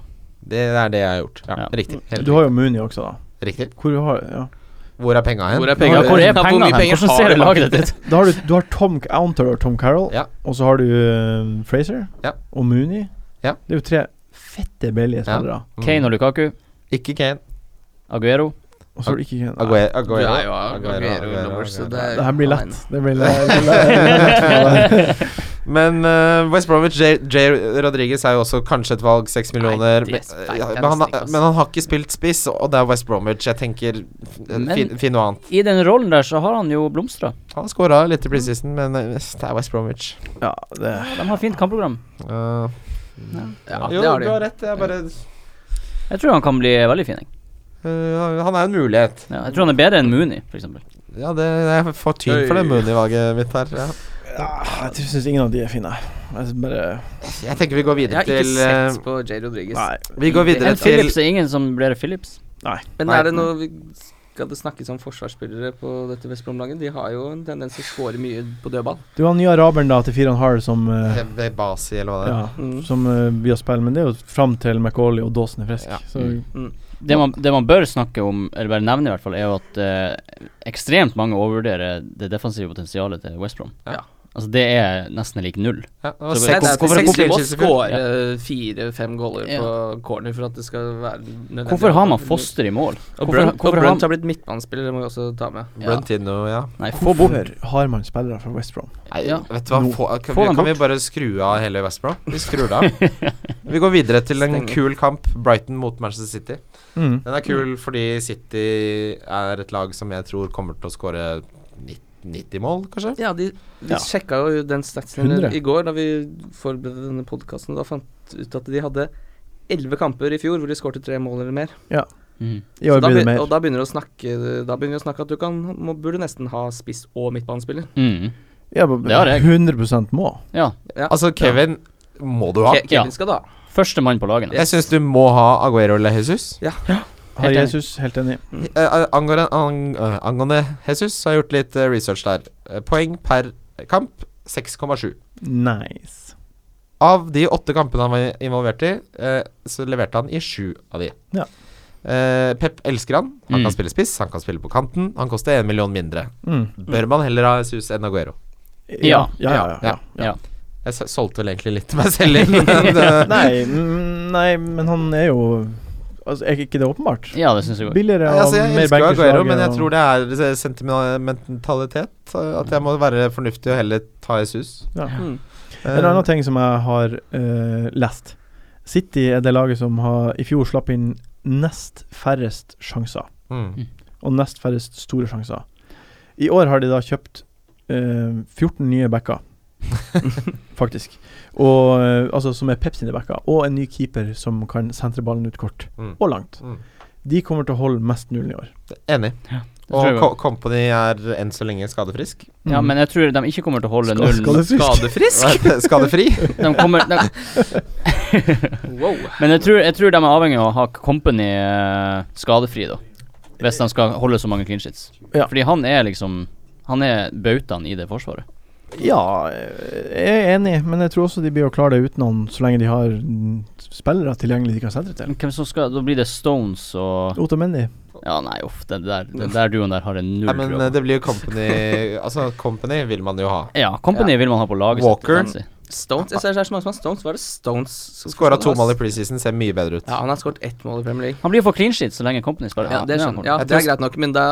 Det er det jeg har gjort. Ja, Ja. Riktig. Helt Du har jo Muni også, da. riktig. Hvor har, ja. Hvor er penga hen? Hvor er Ja, pengene? hvor er Hvor mye pengene? hen? penger Hvordan har ser du? laget ditt ut? Da har du, du har Tom Antar og Tom Carroll, Ja. og så har du eh, Fraser Ja. og Mooney. Ja. Det er jo tre fette billige spillere. Mm. Kane og Lukaku. Ikke Kane. Aguero. Og så har du ikke Kane. Nei, Aguero. Du Aguero. er jo Aguero, Aguero, Aguero-lover, så Aguero. det er Det her blir lett. Det blir lett. Men eh, West Bromwich, J. J. Rodriguez er jo også kanskje et valg, seks millioner. det Men, er altså. eh, sterkt, ja, det er men, han, sterkt, ass. men han har ikke spilt spiss, og det er West Bromwich. Jeg tenker Men- Finn fin noe annet. I den rollen der så har han jo blomstra. Han scora litt i preseason, men eh, det er West Bromwich. ja, det De har fint kampprogram. Eh, Ja, jo, det har du har de. rett. Jeg bare Jeg tror han kan bli veldig fin. jeg. eh, Han er en mulighet. Ja, jeg tror han er bedre enn Mooney, for eksempel Ja, det, jeg får- får tyn for det Oi. Mooney-valget mitt her. Ja. ja, Jeg syns ingen av de er fine. Jeg synes bare Jeg tenker vi går Jeg videre har ikke til eh, sett på J. Rodriguez. Nei. Vi går videre En til Phillips er ingen som blir Phillips. Men Nei. er det noe vi skal det snakkes om forsvarsspillere på dette West Brom-laget? De har jo en tendens til å skåre mye på dødball. Du har den nye araberen da til Firan Har som eh, Hebe Basi, eller hva det er. ja, Mm. som eh, vi har spilt, men det er jo fram til McAuley og Dawson er frisk. Ja. Så Mm. Det man, det man bør snakke om, eller bare nevne i hvert fall, er jo at eh, ekstremt mange overvurderer det defensive potensialet til West Brom. Ja. Altså det er nesten lik null. Ja. det var Så- Nei, seks- det er hvorfor- seks hvorfor- de må hvorfor- skåre fire-fem goaler Ja. på corner for at det skal være nødvendig. Hvorfor har man Foster i mål? Og Hvorfor- Brunt, hvorfor og har Brunt han- har blitt midtbanespiller, det må vi også ta med. Ja. Brentino, ja. Nei, få bort Hvorfor har man spillere fra West Brom? Nei, Ja. vet du hva, No. få, kan, Få vi, den kan vi bare skru av hele West Brom? Vi skrur det av. vi går videre til en Stenger. kul kamp, Brighton mot Manchester City. Mm. Den er kul fordi City er et lag som jeg tror kommer til å skåre 90 mål, kanskje? Ja, de, vi Ja. sjekka jo den statsen 100. i går da vi forberedte denne podkasten. Da fant ut at de hadde elleve kamper i fjor hvor de skårte tre mål eller mer. Mhm. I år da blir det be- mer. Og da begynner, du å snakke, da begynner vi å snakke at du kan, må, burde nesten ha spiss og midtbanespiller. Mhm. Ja, Det har jeg. 100 må. Ja. Ja. Altså, Kevin må du ha. Ke- Ja. Kevin skal da. Første mann på laget. Jeg syns du må ha Aguero eller Jesus. Har enig. Jesus, helt enig. Eh, eh, angående, ang, eh, angående Jesus har jeg gjort litt eh, research der. Eh, Poeng per kamp 6,7. Nice. Av de åtte kampene han var involvert i, eh, så leverte han i sju av de. Ja. Eh, Pep elsker han. Han Mm. kan spille spiss, han kan spille på kanten. Han koster én million mindre. Mm. Bør man heller ha Jesus enn Aguero? Ja. Ja, ja, ja. Ja. ja. Ja. Jeg s- solgte vel egentlig litt meg selv inn. men, eh, Nei, mm, nei, men han er jo Altså, Er ikke det åpenbart? Ja, det syns jeg går. Billigere og altså, jeg mer elsker jo Aguero, men jeg og- tror det er eh, sentimentalitet. eh, At jeg må være fornuftig og heller ta Jesus. ja. Mm. Eh, En annen ting som jeg har eh, lest. City er det laget som har, i fjor slapp inn nest færrest sjanser. mm. Og nest færrest store sjanser. I år har de da kjøpt eh, 14 nye backer, faktisk. Og, eh, altså Som er Pep sine backer. Og en ny keeper som kan sentre ballen ut kort. Mm. Og langt. Mm. De kommer til å holde mest nullen i år. Enig. Det tror jeg Og går. Co- Company er enn så lenge skadefrisk. Ja, men jeg tror de ikke kommer til å holde Skal- skal nullen. det frisk? Skadefri. De kommer, de, Wow. men jeg tror, jeg tror de er avhengig av å ha Company eh, skadefri, da. Hvis de skal holde så mange clean sheets. Ja. Fordi han er liksom Han er bautaen i det forsvaret. Ja, eh, jeg er enig, men jeg tror også de blir å klare det uten han så lenge de har mm, spillere tilgjengelig de kan sentre til. Men hvem som skal Da blir det Stones og Otamendi. Ja, nei, uff, den der, den der duoen der har jeg null Nei, men tro eh, på. det blir jo Company Altså, Company vil man jo ha. Ja, Company vil man ha på laget Walker. sitt. Stones Jeg ser det er så mange som har Stones. Hva er det Stones som Skåra skal to sånn, ha? mål i preseason, ser mye bedre ut. Ja, han har skåret ett mål i Premier League. Han blir for clean sheet så lenge Company spiller. Ja, det, er han skjønner, kommer ja, Jeg det tror- er greit nok, men da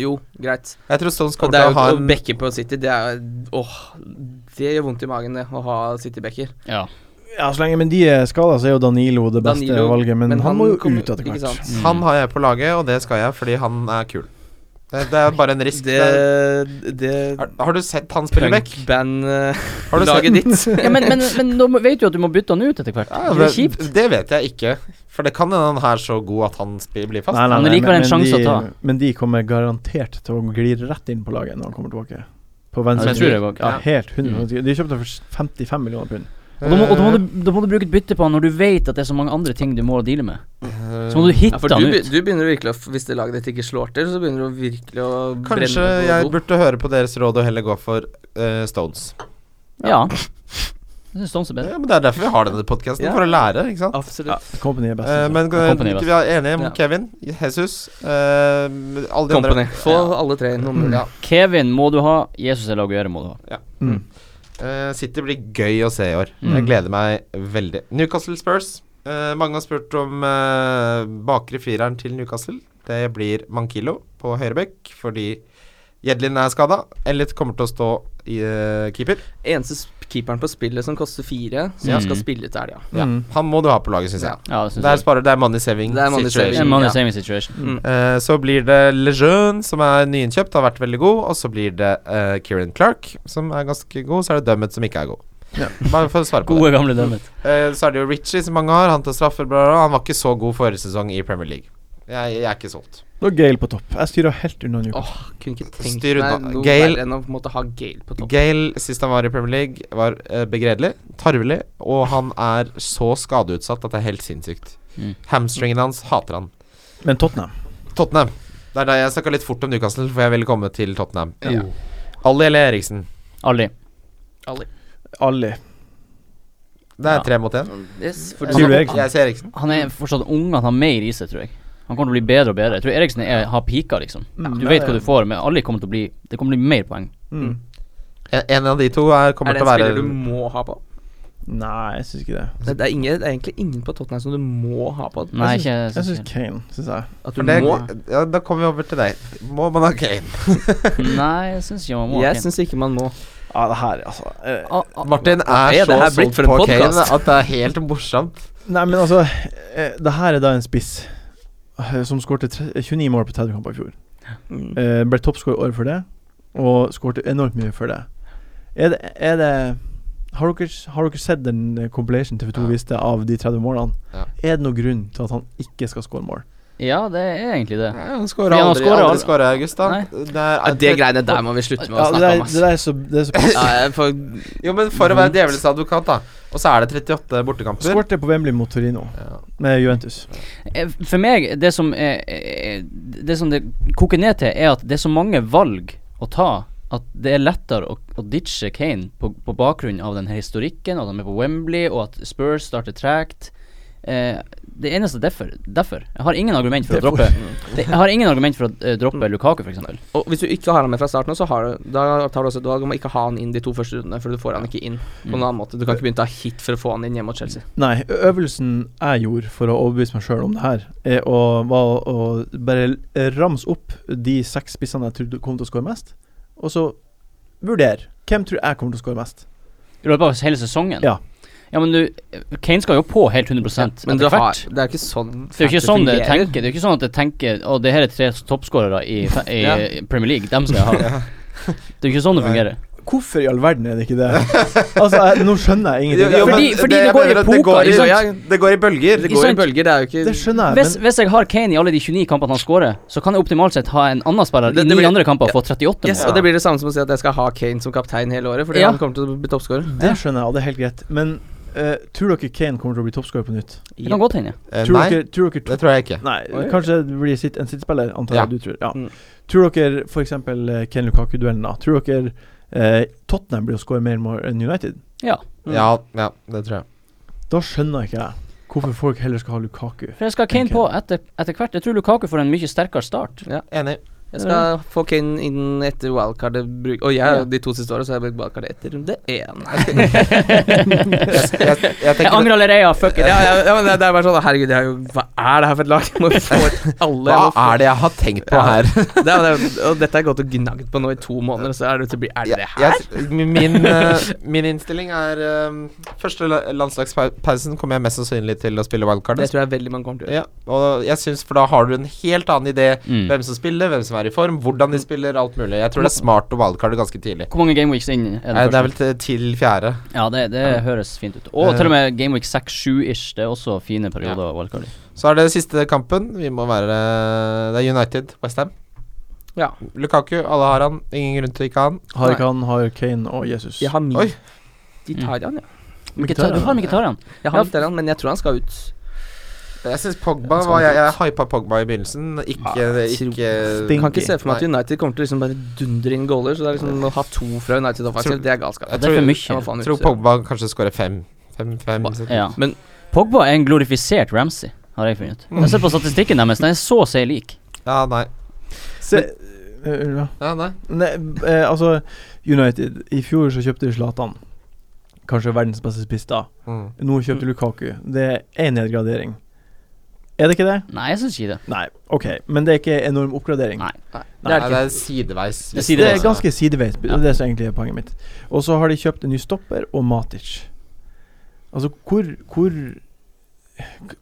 Jo, greit. Jeg tror Stones Og kommer det er til å jo ha og en bekker på City. Det er Åh, det gjør vondt i magen, det, å ha City-bekker. til. Ja. Ja, så lenge men de er skada, så er jo Danilo det beste Danilo, valget. Men, men han, han må jo kom- ut etter ikke hvert. sant? Mm. Han har jeg på laget, og det skal jeg, fordi han er kul. Det, det er bare en risk. Det, Det det er, har du sett han spille back? Har du sett- Punkband-laget ditt. Ja, men, men, men da må- vet du at du må bytte han ut etter hvert. Ja, det er kjipt. det vet jeg ikke. For det kan hende han er så god at han spi- blir fast. Han er likevel en de, sjanse å ta. men de kommer garantert til å gli rett inn på laget når han kommer tilbake. På Ja, Mm. venstre. det tror jeg òg. ja, helt 100 De kjøpte for 55 millioner pund. Og da må, og da, må du, da må du bruke et bytte på han når du vet at det er så mange andre ting du må deale med. Eh, Så må du Ja, hitte for han du, ut. be- du begynner virkelig å f- Hvis det laget ditt ikke slår til, så begynner du virkelig å Kanskje brenne. på jeg do. burde høre på deres råd og heller gå for eh, Stones. Ja. Jeg syns Stones er bedre. Ja, men Det er derfor vi har denne podkasten, Ja. for å lære, ikke sant? Absolutt. Company er best. liksom. Eh, men eh, Company, vi er enige om Ja. Kevin, Jesus, eh, alle de andre. Company. Mm. Få alle tre inn. om- Ja. Kevin må du ha. Jesus eller Aguero må du ha. mm. Eh, City blir gøy å se i år. Mm. Jeg gleder meg veldig. Newcastle Spurs. Eh, mange har spurt om eh, bakre fireren til Newcastle. Det blir Mankilo på høyrebekk fordi Jedlin er skada. Elliot kommer til å stå i eh, keeper. Eneste sp- keeperen på spillet som koster fire, som Ja. skal spille til helga. Ja. Mm. Han må du ha på laget, syns jeg. Ja, det syns Der jeg. sparer det er money saving. Det er money situation. Det er en money Ja. saving situation. Eh, så blir det Lejeune, som er nyinnkjøpt, har vært veldig god. Og så blir det eh, Kieran Clark, som er ganske god. Så er det Dummet, som ikke er god. Ja. Bare for å svare på det. Gode, gamle dømmet. Eh, så er det jo Ritchie, som mange har. Han tar straffer. Bla, bla, bla. Han var ikke så god forrige sesong i Premier League. Jeg, jeg er ikke solgt. Da er Gale på topp. Jeg styrer helt unna Newcastle. Åh, kunne ikke tenkt Styr meg unna. noe Gale- verre enn å på en måte ha Gale på topp. Gale, sist han var i Premier League, var eh, begredelig, tarvelig, og han er så skadeutsatt at det er helt sinnssykt. Mm. Hamstringen hans hater han. Men Tottenham Tottenham. Det er der jeg snakka litt fort om Newcastle, for jeg ville komme til Tottenham. Ja. Ali eller Eriksen? Ali. Ali. Det er Ja. tre mot én. Yes, for Sier du Eriksen? Jeg sier Eriksen. Han er fortsatt ung, han har mer i seg, tror jeg. Han kommer til å bli bedre og bedre. Jeg tror Eriksen er, har pika, liksom. Mm, Du det vet er- hva du får, men Ali kommer til å bli Det kommer til å bli mer poeng. Mm. En- En av de to er, er kommer det til en å være spiller du må ha på? Nei, jeg syns ikke det. Det, det, er ingen, det er egentlig ingen på Tottenham som du må ha på. Nei, ikke Jeg syns Kane, syns jeg. At du For det, må. ja, Da kommer vi over til deg. Må man ha Kane? Nei, jeg syns ikke man må. Jeg Kane. syns ikke man må. Ja, det her, altså eh, Ah, ah, Martin er, er det så her blitt solgt for en på Kane podcast? at det er helt morsomt. Nei, men altså eh, Det her er da en spiss eh, som skårte tre- 29 mål på 30 kamper i fjor. Mm. Eh, ble toppskårer året for det, og skårte enormt mye for det. Er det, er det har dere, har dere sett den eh, compilation TV2 Ja. viste av de 30 målene? Ja. Er det noen grunn til at han ikke skal skåre mål? Ja, det er egentlig det. Nei, Han skårer Ja, han aldri, scorer aldri aldri. scorer i august, da. Nei. Det er, Ja, det greiene der må vi slutte med å Ja, det, snakke er, om, ass. det er så, det er så Ja, jeg får- Jo, men for å være djevelens advokat, da. Og så er det 38 bortekamper. Skårte på Wembley mot Torino, Ja. med Juventus. Eh, For meg, det som, er, er- det som det koker ned til, er at det er så mange valg å ta at det er lettere å, å ditche Kane på, på bakgrunn av den her historikken, at han er på Wembley, og at Spurs starter tregt. Eh, det eneste derfor, derfor Jeg har ingen argument for å droppe det, Jeg har ingen argument for å eh, droppe Mm. Lukaku, f.eks. Og hvis du ikke har han med fra starten av, så har du, da tar du også et valg om å ikke ha han inn de to første rundene, for du får han ikke inn på Mm. noen annen måte. Du kan ikke begynne å ta hit for å få han inn hjemme mot Chelsea. Nei, ø- øvelsen jeg gjorde for å overbevise meg sjøl om det her, er å, var å bare l- ramse opp de seks spissene jeg trodde kom til å skåre mest, og så vurdere hvem tror jeg kommer til å skåre mest. I løpet av hele sesongen. Ja. Ja, men du Kane skal jo på helt 100 Men du etter har, hvert. det er jo ikke sånn Det er jo ikke fantasy sånn det fungerer. tenker. Det er jo ikke sånn at jeg tenker Å, det her er tre toppskårere i, fe- i Ja. i Premier League. Dem skal jeg ha. Det er jo ikke sånn det Nei. fungerer. Hvorfor i all verden er det ikke det? Altså, jeg, nå skjønner jeg ingenting. jo, Jeg- fordi- fordi det jeg går i mener at det poker, går i- ikke sant? Det går i bølger. Det Ikke går i sant? bølger, det er jo ikke det skjønner jeg, Hvis, men hvis jeg har Kane i alle de 29 kampene han skårer, så kan jeg optimalt sett ha en annen spiller Det- i det ni blir- andre kamper og få 38 Yes, mål. og det blir det samme som å si at jeg skal ha Kane som kaptein hele året, fordi Ja. han kommer til å bli toppskårer. det skjønner jeg, og det er helt greit. Men eh, tror dere Kane kommer til å bli toppskårer på nytt? Det kan godt hende. Eh, Tror nei, dere, tror dere det tror jeg ikke. Nei, Oi. kanskje det blir sitt, en sittespiller, antar jeg Ja. du tror. Ja. Mm. Tror dere f.eks. Ken Lukaku-duellen, da? Tror dere eh, Tottenham blir å score mer mål enn United? Ja. Mm. Ja, ja, det tror jeg. Da skjønner ikke jeg hvorfor folk heller skal ha Lukaku. For jeg skal ha Kane Ok. på etter, etter hvert. Jeg tror Lukaku får en mye sterkere start. Enig. Jeg skal få Kane inn etter wildcardet bruk- Og jeg, de to siste årene så har jeg brukt wildcardet etter runde én. Jeg, jeg, jeg Jeg tenker angrer allerede, fuck ja, it. ja, ja, men det, det er bare sånn Herregud, jeg, har jo- hva er det her for et lag? Jeg må få ut alle. Hva er det jeg har tenkt på Ja. her? det, er- det, er- og dette har jeg gått og gnagd på nå i to måneder, så er det til å bli Er det det her? Jeg- min, eh, min innstilling er eh, Første la- landslagspausen kommer jeg mest sannsynlig til å spille wildcard. Det tror jeg veldig mange kommer til å gjøre. Ja, og jeg synes, for da har du en helt annen idé Mm. hvem som spiller, hvem som er i form, hvordan de Mm. spiller, alt mulig. Jeg tror det er smart å wildcarde ganske tidlig. Hvor mange Gameweeks inn er Eh, Det første? er vel til, til fjerde. Ja, det, det høres fint ut. Og til og med Gameweek 6-7-ish. Det er også fine perioder. å wildcard i. Så er det siste kampen. Vi må være Det er United, Westham. Ja. Lukaku, alle har han. Ingen grunn til ikke ha han. Har ikke han, har Kane og Jesus. Jeg har min. Oi. De tar Mm. han, ja. Mkhitar- Du har Mkhitaryan. Jeg Ja, har f- ja. han, men jeg tror han skal ut. Jeg syns Pogba var Jeg, jeg hypa Pogba i begynnelsen. Ah, Ikke, ikke Stinky. Kan ikke se for meg at United kommer til å liksom bare dundre inn goaler, så det er liksom å ha to fra United Tror- offensivt, det er galskap. Jeg Det er for Jeg må mye. faen ut, tror så- Pogba kanskje skårer fem. Fem, fem. Ba- seks. Ja. Men- Pogba er en glorifisert Ramsey, har jeg funnet ut. Jeg ser på statistikken deres, den er så å si lik. Ja, nei. Se, eh, unnskyld, ja. Ja, nei. Nei, eh, altså United I fjor så kjøpte de Zlatan. Kanskje verdens beste spiss da. Mm. Nå kjøpte Lukaku. Det er én nedgradering. Er det ikke det? Nei, jeg syns ikke det. Nei, OK. Men det er ikke enorm oppgradering. Nei. Nei, det er det det er sideveis. Det er Det sideveis, er ganske sideveis. Det Ja. er det som egentlig er poenget mitt. Og så har de kjøpt en ny stopper og Matic. Altså, hvor, hvor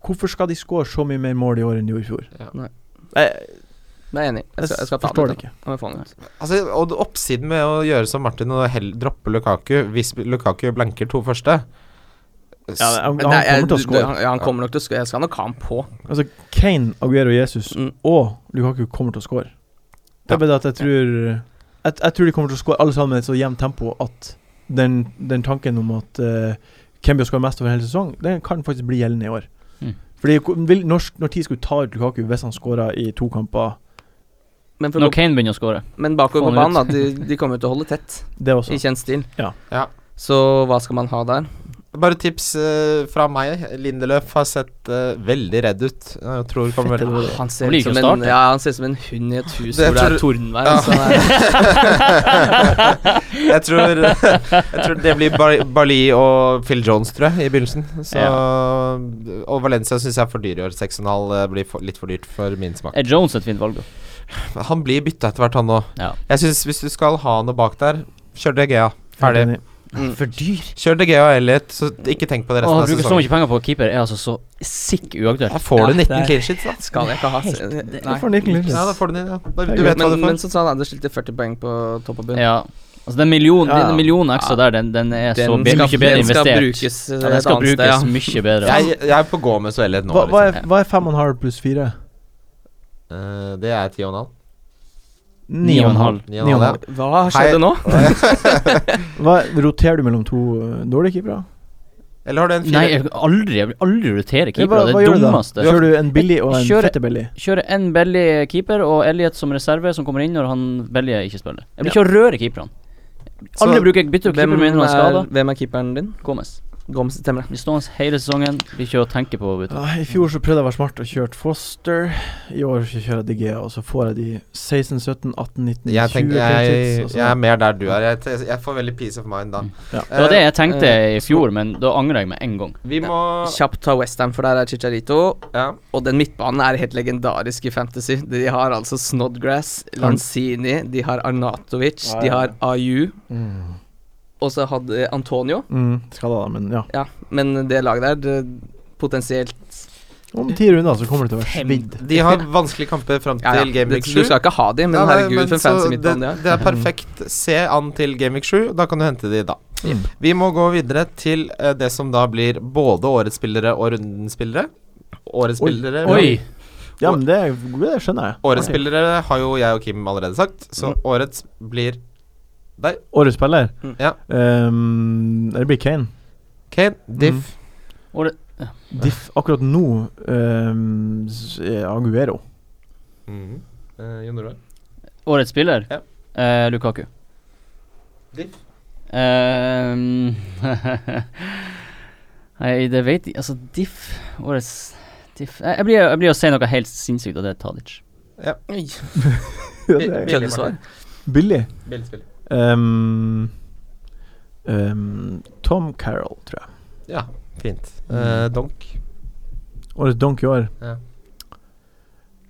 Hvorfor skal de score så mye mer mål i år enn de gjorde i fjor? Nei, jeg er enig. Jeg skal, jeg skal forstår det ikke. ikke. Jeg må få han ut. Altså, og oppsiden med å gjøre som Martin og hell, droppe Lukaku Hvis Lukaku blanker to første s- Ja, han, han Nei, jeg- kommer til å det- score. han- Ja, han kommer nok til å score. Jeg skal nok ha han på. Altså, Kane, Aguero, Jesus Mm. og Lukaku kommer til å score. Det Ja. er bare det at jeg tror jeg, jeg tror de kommer til å score alle sammen med et så jevnt tempo at den, den tanken om at eh, hvem bør skåre mest over hele sesong, den kan faktisk bli gjeldende i år. Mm. Fordi hvor- vil, når, når tid skulle ta ut Lukaku hvis han skåra i to kamper? Men, for å Når gå- Kane begynner å score. men bakover på Faen banen, da. ut. De, de kommer jo til å holde tett, Det også. i kjent stil. Ja. Ja. Så hva skal man ha der? Bare tips eh, fra meg. Lindeløf har sett eh, veldig redd ut. Jeg tror kommer veldig Ah, Han ser Han blir ut som ikke å en starte. Ja, han ser ut som en hund i et hus Det hvor det tror- er tordenvær. Ja. så det er- jeg, tror, jeg tror det blir Bar Barli og Phil Jones, tror jeg, i begynnelsen. Så, Og Valencia syns jeg er for dyr i år. 6,5 eh, blir for, litt for dyrt for min smak. Er Jones et fint valg, da? Han blir bytta etter hvert, han òg. Ja. Jeg syns hvis du skal ha noe bak der, kjør DGA. Ferdig. Helt enig. Mm. For dyr. Kjør DGA og Elliot, så ikke tenk på det Å resten av bruke så sesongen. mye penger på keeper er altså så sikk uaktuelt. Da får Ja, du 19 det er- clean sheets, da. Skal jeg ikke ha se- Du Nei. får 19 linjer. Ja, da får du den, ja. Da, du Herregud. vet hva Men, du får. men som sa Anders stilte 40 poeng på topp og bunn. Ja. Altså, den millionen, Ja, ja. den millionen ekstra der, den, den er så Den be skal, mye bedre den skal investert. brukes eh, Ja, den et skal annet sted, ja. brukes mye bedre. jeg, jeg er på gå med så Elliot nå. Hva, hva, er, liksom. hva er fem og en halv pluss fire? liksom. Eh, det er 10,5. Ni og en halv. Ni og en Ni halv, og en halv. Hva Hei. skjedde nå? Hva, roterer du mellom to eh, dårlige keepere? Eller har du en Nei, 4? jeg vil aldri, jeg vil aldri rotere Ja, keepere. Det er det dummeste. Kjører du en billig og en Kjører- fette billig? Kjøre en billig keeper og Elliot som reserve, som kommer inn når han billige ikke spiller. Jeg blir ikke å røre keeperne. Aldri Så- bruker jeg bytter keeper Hvem med innenlands er, skada. hvem er keeperen din? Gomez. Gomes stemmer det. Blir stående hele sesongen. Blir ikke å tenke på å bytte. Ja, Ah, I fjor så prøvde jeg å være smart og kjørte Foster. I år så kjører jeg DG, og så får jeg de 16, 17, 18, 19, Jeg, 20 tenker, jeg, credits, og jeg så- er mer der du er. Jeg, jeg, jeg får veldig peace of mind da. Mm. Ja. Det var det jeg tenkte eh, i fjor, men da angrer jeg med en gang. Vi må Kjapt ta Westham, for der er Chicharito. ja. Og den midtbanen er helt legendarisk i Fantasy. De har altså Snodgrass, Lanzini, de har Arnatovic, Ja, ja. de har AU, Mm. og så hadde Antonio. Mm, skada, da, men ja. Ja, men det laget der, det potensielt Om ti runder så kommer det til å være svidd. De har vanskelige kamper fram ja, ja. til Game det, Week 7. Du skal ikke ha de, men Ja, nei, herregud, for en så fancy det, midtbane de har. det er perfekt. Se an til Game Week 7, da kan du hente de da. Mm. Vi må gå videre til eh, det som da blir både årets spillere og rundens spillere. Årets Oi. spillere Oi! Ja, men det, det skjønner jeg. Årets Ok. spillere har jo jeg og Kim allerede sagt, så årets blir deg. Årets spiller? Mm. Ja. Um, det blir Kane. Kane, Diff, Og det, Diff akkurat nå um, s- eh, Aguero. Mhm. Eh, Jon Roar. årets spiller, Ja. eh, Lukaku. Diff. Eh, Nei, det vet jeg Altså, Diff Årets Diff Jeg, jeg blir jeg blir å si noe helt sinnssykt, og det er Tadic. Oi. det Bi- er Billig svar. billig. Billigspill. Ehm, ehm, Tom Carroll, tror jeg. Ja, fint. Eh, donk. Årets donk i år. Ja.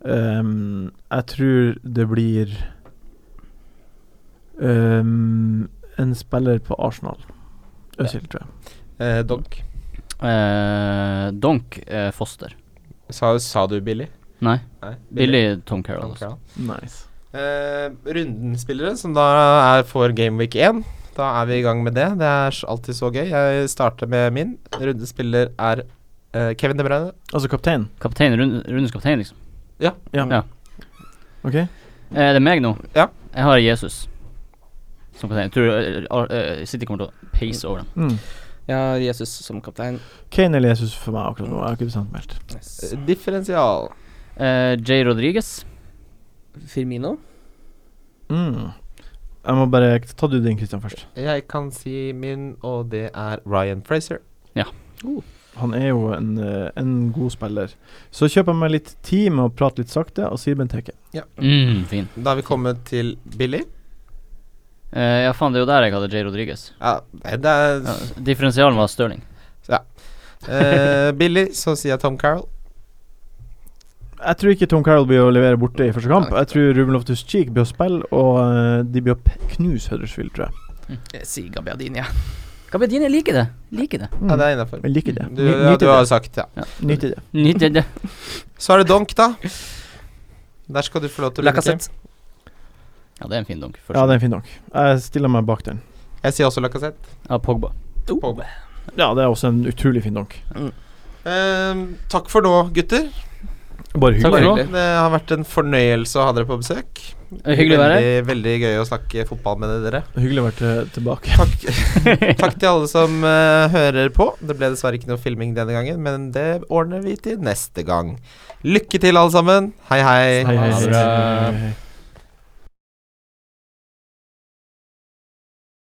Ehm, jeg tror det blir ehm, en spiller på Arsenal. Øzil, tror jeg. Eh, donk. Eh, donk eh, Foster. Sa, sa du billig? Nei, Nei. Billy Tom Tom Carroll. Altså. Crown. Nice. Eh, rundenspillere, som da er for Gameweek 1. Da er vi i gang med det. Det er s- alltid så gøy. Jeg starter med min. Rundespiller er eh, Kevin De Bruyne. Altså kaptein. Kaptein, rund, rundens kaptein, liksom. Ja. Ja. OK? Eh, er det meg nå? Ja. Jeg har Jesus som kaptein. Jeg tror eh, Ar- eh, City kommer til å pace over dem. Mm. Jeg har Jesus som kaptein. Kane eller Jesus for meg akkurat nå. Jeg har ikke bestemt meg helt. Yes. Eh, Differensial. Eh, J. Rodriguez. Firmino. Mm. Jeg må bare Ta du din, Christian, først. Jeg kan si min, og det er Ryan Fraser. Han er jo en, eh, en god spiller. Så kjøper jeg meg litt tid med å prate litt sakte, og sier Benteke. Mm, fin. Da er vi kommet til Billy. Eh, ja, faen, det er jo der jeg hadde J. Rodriguez. Ja, det er Ja, differensialen var Stirling. eh, Billy, så sier jeg Tom Carroll. Jeg tror ikke Tom Carroll blir å levere borte i første kamp. Nei. Jeg tror Ruben Loftus Cheek blir å spille, og eh, de blir å p- knuse Huddersfield, tror jeg. Jeg sier Gabiadini, jeg. Gabbiadini liker det. Liker det. Ja, det er innafor. Jeg liker det. Du, ja, du har sagt ja. Nyt i det. Nytt det. Så er det Donk, da. Der skal du få lov til å velge. Lacassette. Ja, det er en fin donk. Ja, den er fin nok. Jeg stiller meg bak den. Jeg sier også Lacassette. Ja, Pogba. Pogba. Ja, det er også en utrolig fin donk. Ehm, takk for nå, gutter. Bare Takk hyggelig. for nå. Det har vært en fornøyelse å ha dere på besøk. Eh, Hyggelig å være her. veldig, veldig gøy å snakke fotball med dere. Hyggelig å være til- tilbake. Takk, takk til alle som eh, hører på. Det ble dessverre ikke noe filming denne gangen, men det ordner vi til neste gang. Lykke til, alle sammen. Hei, hei. Hei, hei. Ha det bra. hei, hei, hei.